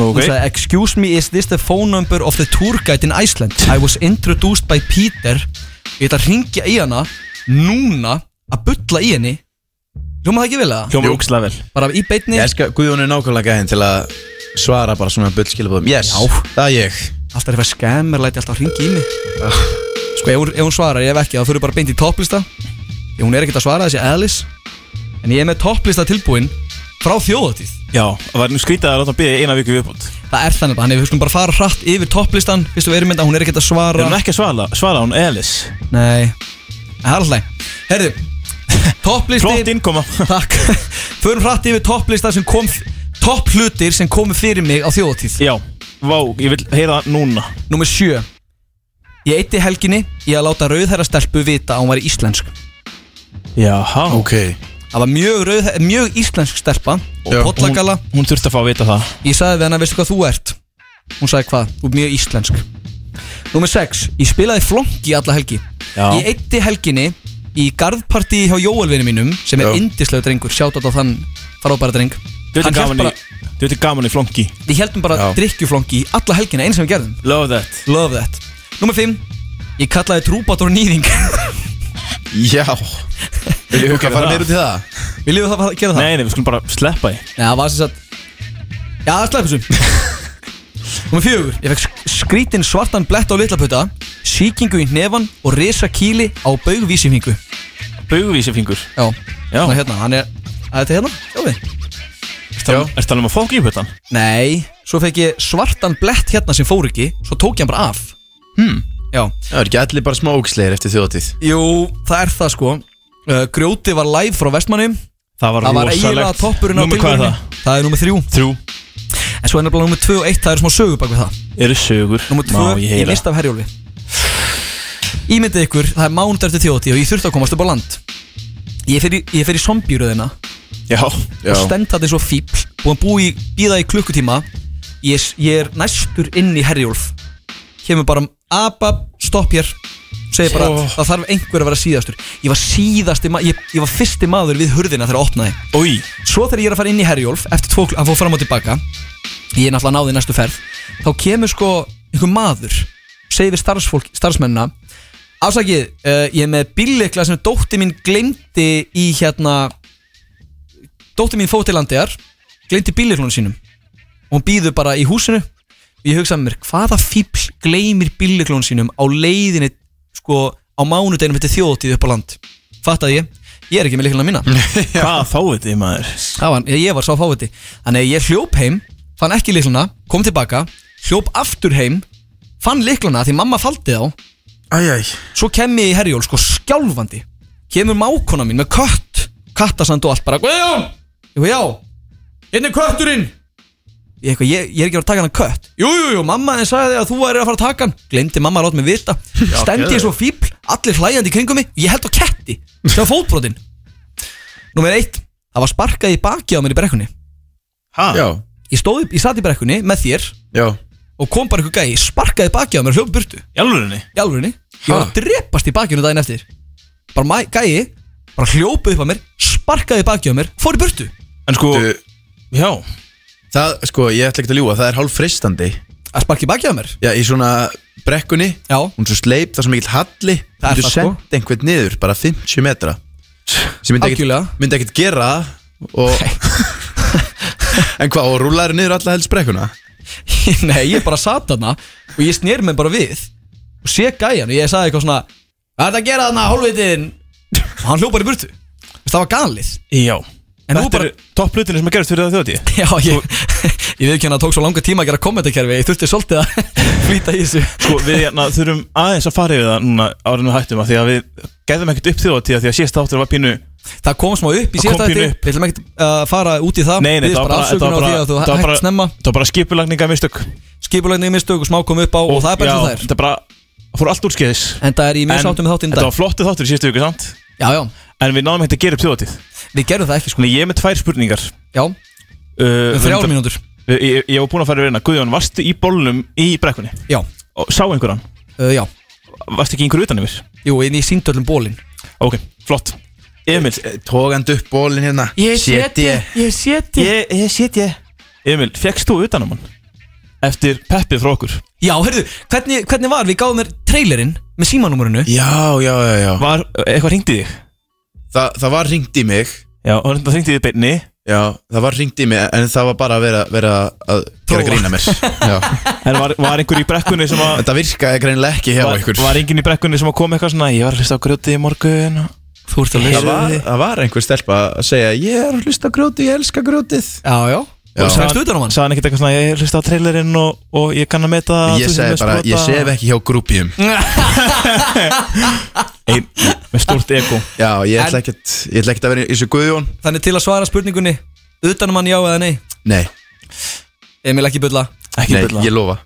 Hún Ok. sagði, excuse me, is this the phone number of the tour guide in Iceland I was introduced by Peter Ég ætla að ringja í hana Núna að bulla í henni Hljóma það ekki vel að? Hljóma ógislega vel Bara í beinni Ég elska Guðjón er nákvæmlega gæðin til að svara bara svona bullskilabóðum Yes, Já. það er ég Alltaf er eitthvað skemmur, læti alltaf að ringi í mig Sko, ef, hún- ef hún svarar, ég hef ekki, þá þurfum við bara beint í topplista Því hún er ekkert að svara þessi eðlis En ég er með topplista tilbúin frá þjóðatíð Já, það var nú skrítið að láta hann byrja eina viku viðbútt Það er þannig bara, þannig að við skulum bara fara hratt yfir topplistan Fyrstu við erum mynda, hún er ekkert að svara Er hún ekki að svara, svara hún Elis? Nei, en það er alltaf í lagi. Herðu, (laughs) topplisti Flott innkoma (laughs) Takk Förum hratt yfir topplista sem kom Topp hlutir sem komu fyrir mig á þjóðatíð Já, vá, ég vil heyra það núna Númer sjö Ég eitti helginni í að láta rauðherra stelpu vita að hún var íslensk Jaha Ok Það var mjög, rauð, mjög íslensk stelpa Og Já, pollagalla hún, hún þurfti að fá að vita það Ég sagði við hana, veistu hvað þú ert? Hún sagði hvað, þú ert mjög íslensk Númer 6, ég spilaði flonki alla helgi Já. Ég eitti helginni í garðpartíi hjá Jóelvinni mínum Sem er Já. indislegu drengur, sjátt á þann frábæra dreng Þú Hann ert hélt gaman, bara, í- þú ert gaman í flonki við heldum bara Já. drikkjuflonki í alla helgina eins sem við gerðum Love that Love that Númer 5 Ég kallaði trúbátor nýðing (laughs) Já Viljum við Ok, að fara það. meira út í það? Viljum við það fara- gera það? Nei, nei, við skulum bara sleppa því Nei, það var sem sagt Já, það sleppum (laughs) sem Númer 4 Ég fekk sk- skrítinn svartan blett á litlapöta Sýkingu í hnefann og risa kýli á baugvísifingu Baugvísifingur? Já Já Svona hérna, hann er að þetta hérna? Já við Ertu talað um að fók í pötan? Nei Svo fekk ég svartan blett hérna sem fór ekki Svo tók ég hann bara af Hmm. Já Það er ekki allir bara smá ógisleir eftir þjóðatíð Jú, það er það sko uh, Grjóti var live frá vestmanni Það var rosalegt. eiginlega toppurinn á Númer hvað er tilverunni það? Það er nummer þrjú Þrjú En svo er nefnilega nummer tvö og eitt Það er smá sögur bak við það Eru sögur Númer tvö Má ég í heyra? list af herjólfi Ímyndið ykkur, það er mánuð eftir þjóti og ég þurfti að komast upp á land Ég fer í, ég fer í zombjúruðina Já, já. Og stend það eins og fíbl Búin að búi býða í klukkutíma ég, s- ég er næstur inn í Herjólf Kemur bara Abab, stopp hér Segir bara, Oh. það þarf einhver að vera síðastur Ég var síðasti maður ég, ég var fyrsti maður við hurðina þegar það opnaði Oi. Svo þegar ég er að fara inn í Herjólf Eftir tvo, hann fór fram og tilbaka Ég er náttúrulega náði næstu ferð Þá kemur sko einhver maður Segir við starfsfólk, starfsmennina Afsakið, uh, ég er með bíllykla sem dótti mín glemdi í hérna Dótti mín fótilandiðar Glemdi bíllyklunum sínum og hún býður bara í húsinu og ég hugsa með mér, hvaða fíbl gleymir bílliklón sínum á leiðinni sko, á mánudeginum þetta þjóðtíð upp á land fattaði ég, ég er ekki með likluna mína hvað fáviti maður var, ég, ég var sá fáviti, þannig að ég hljóp heim fann ekki likluna, kom tilbaka hljóp aftur heim, fann likluna því mamma faldi þá Æjæj. svo kem ég í herjól, sko skjálfandi kemur mákona mín með kött kattasand og allt bara, Guðjón Ég, já, hérna er kötturinn ég, eitthvað, ég, ég er ekki að fara að taka hann kött Jú, jú, jú, mamma þinn sagði að þú er að fara að taka hann Glemdi mamma að láta mig vita Stendi ég geðveikt. svo fíbl, allir hlæjandi í kringum mig Ég held á ketti, sem fótbrotin Númer eitt Það var sparkað í baki á mér í brekkunni Hæ? Já. Ég stóð upp, ég satt í brekkunni með þér Já Og kom bara eitthvað gæi, sparkaði í baki á mér og hljóp í burtu Í alvörinni? Í alvörinni Ég var að drepast í bakinu daginn eftir Bara mæ, gæi, bara hljópa upp á mér Sparkaði í baki á mér, fór í burtu En sko Já Það, sko, ég ætla ekki að ljúga, það er hálf freistandi Að sparki bakið á mér? Já, í svona brekkunni Já Hún er svo sleip, það er svo mikill halli Það er það, sko. senda einhvern niður, bara 50 metra Sem myndi Algjörlega. (laughs) ekkert Myndi ekkert gera það Og (laughs) En hvað, og rúlar niður alla helst brekkuna? Nei, ég bara sat þarna og ég snér mig bara við og sé gæjan og ég sagði eitthvað svona Hvað er þetta að gera þarna, hólvitiðin? Og hann hljópar í burtu Veist, Það var galið (laughs) Já En Þetta bara... eru topp hlutinni sem að gerast fyrir það þjóti Já, ég, (laughs) ég veit ekki hann að það tók svo langa tíma að gera kommentakerfi Ég þurfti svolítið að (laughs) flýta í þessu Sko, við hérna, þurfum aðeins að fara yfir það núna árinu hættum að því að við gæðum ekkert upp þjóti að því að síðast áttur var pínu Það kom smá upp í síðasta þætti. Við ætlum ekkert að fara út í það Nei, nei, Við það var bara bara- afsökunar það á því var bara- að þú það var hægt bara- snemma Það var bara skipulagninga mistök Skipulagninga mistök og smá kom upp á og, það er bara eins já, og það er Þetta bara fór allt úr skeiðis En það er ég mjög sáttur með þáttinn í dag. Þetta var flottu þáttur í síðustu viku, sant? Já, já En við náðum ekkert að gera upp þjóðatíð Við gerum það ekki, sko Þannig ég er með tvær spurningar Já um uh, Þrjár mínútur. Ég, ég, ég var búin að fara yfir hérna Guðjón, varstu í bólnum í brekkunni? Já Og sá einhverjan? Uh, já Varstu ekki einhver utan yfir? Jú, en ég síndi öllum bólin Ok, flott Emil Tógand upp bólin hérna Ég seti Ég, ég seti eh, Emil, fekkst þú utan á hann? Eftir peppið frá okkur Já, heyrðu, hvernig, hvernig var? Við gáðum þér trailerinn með símanúmurinu Já, já, já, já Var eh, eitthvað ringt í þig? Þa, það var ringt í mig Já, það ringt í þig beinni Já, það var ringt í mig En það var bara að vera, vera að gera grína mér (laughs) Já En var, var einhver í brekkunni sem að Þetta virkaði greinilega ekki hjá var, ykkur Var enginn í brekkunni sem að koma eitthvað svona Ég var að hlusta á grjótið í morgun og... Þú ert það var, það var einhver stelpa að segja Ég er að hlusta á grjótið, ég elska grjótið Já, já Já. Og sagðist utan á hann? Sæðan ekkert eitthvað svona Ég hlusta á trailerinn og, og ég kann að meta Ég segi bara, ég sef ekki hjá grúpjum Ein, Með stórt ego Já, ég En- ætla ekkert Ég ætla ekkert að vera í þessu guðjón Þannig til að svara spurningunni Utanum hann já eða nei Nei, Emil ekki bulla nei, ég lofa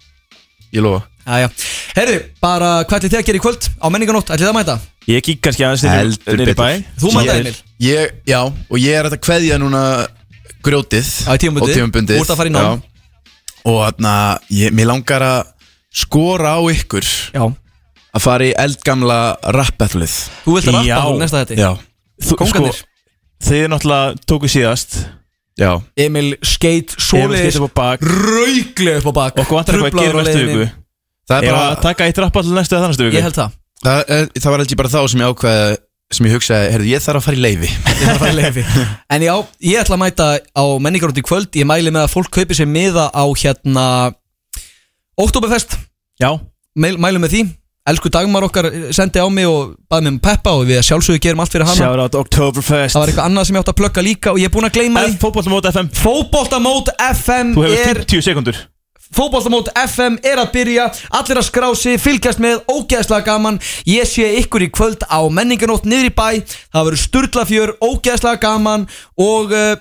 Ég lofa Jæja Herru, bara hvað ætlið þið að gera í kvöld á menninganótt? Ætlið það að mæta? Ég kík kannski aðeins Heldur niður í bæ betur Þú mæta, Ég- Emil. Ég, já, og ég er að kveðja núna grjótið Já, í tímabundið. og tímabundið Þú ert að fara í nám. Já. Og þarna, ég, mér langar að skora á ykkur Já Að fara í eldgamla rappethlið Þú vilt að rappa hún næsta þetta? Já Þú- sko, Kóngarnir. Þið náttúrulega tóku síðast Já Emil skeit Svoleiðis svoleiðis upp á bak Rauglega upp á bak Okkur vantar eitthvað að Truflaður á gera næstu leiðinni. viku Það er Ef bara- að taka eitt rapp allir næstu eða þannastu viku Ég held það Það, eh, það var held ég bara þá sem ég ákvaði sem ég hugsaði, heyrðu, ég þarf að fara í leifi Ég þarf að fara í leyfi. (laughs) En já, ég ætla að mæta á menningarótt í kvöld Ég mæli með að fólk kaupi sér miða á hérna Oktoberfest Já Mæl, Mælu með því Elsku Dagmar okkar sendi á mig og baði mig um peppa og við sjálfsögðu gerum allt fyrir hana Shout out Oktoberfest Það var eitthvað annað sem ég átti að plugga líka og ég er búinn að gleyma því Fótboltamót FM Fótboltamót FM Þú hefur er 50 sekundur Fótboltamót FM er að byrja Allir að skrá sig, fylgjast með, ógeðslega gaman Ég sé ykkur í kvöld á menninganótt niður í bæ Það verður sturglafjör, ógeðslega gaman Og uh,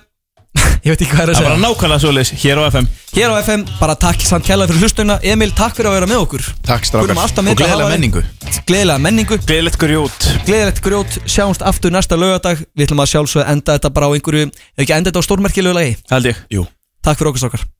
(laughs) Ég veit ekki hvað er að Það segja var nákvæmlega svoleiðis hér á FM Hér á FM, bara takk samt kærlega fyrir hlustuna Emil, takk fyrir að vera með okkur Takk strákar. Og gleðilega menningu. Gleðilega menningu Gleðilegt grjót Gleðilegt grjót, sjáumst aftur næsta lögadag Við ætlum að sjálfsögða enda þetta bara á einhverju Ef ekki enda þetta á stórmerkilegu lagi Held ég Jú Takk fyrir okkur strákar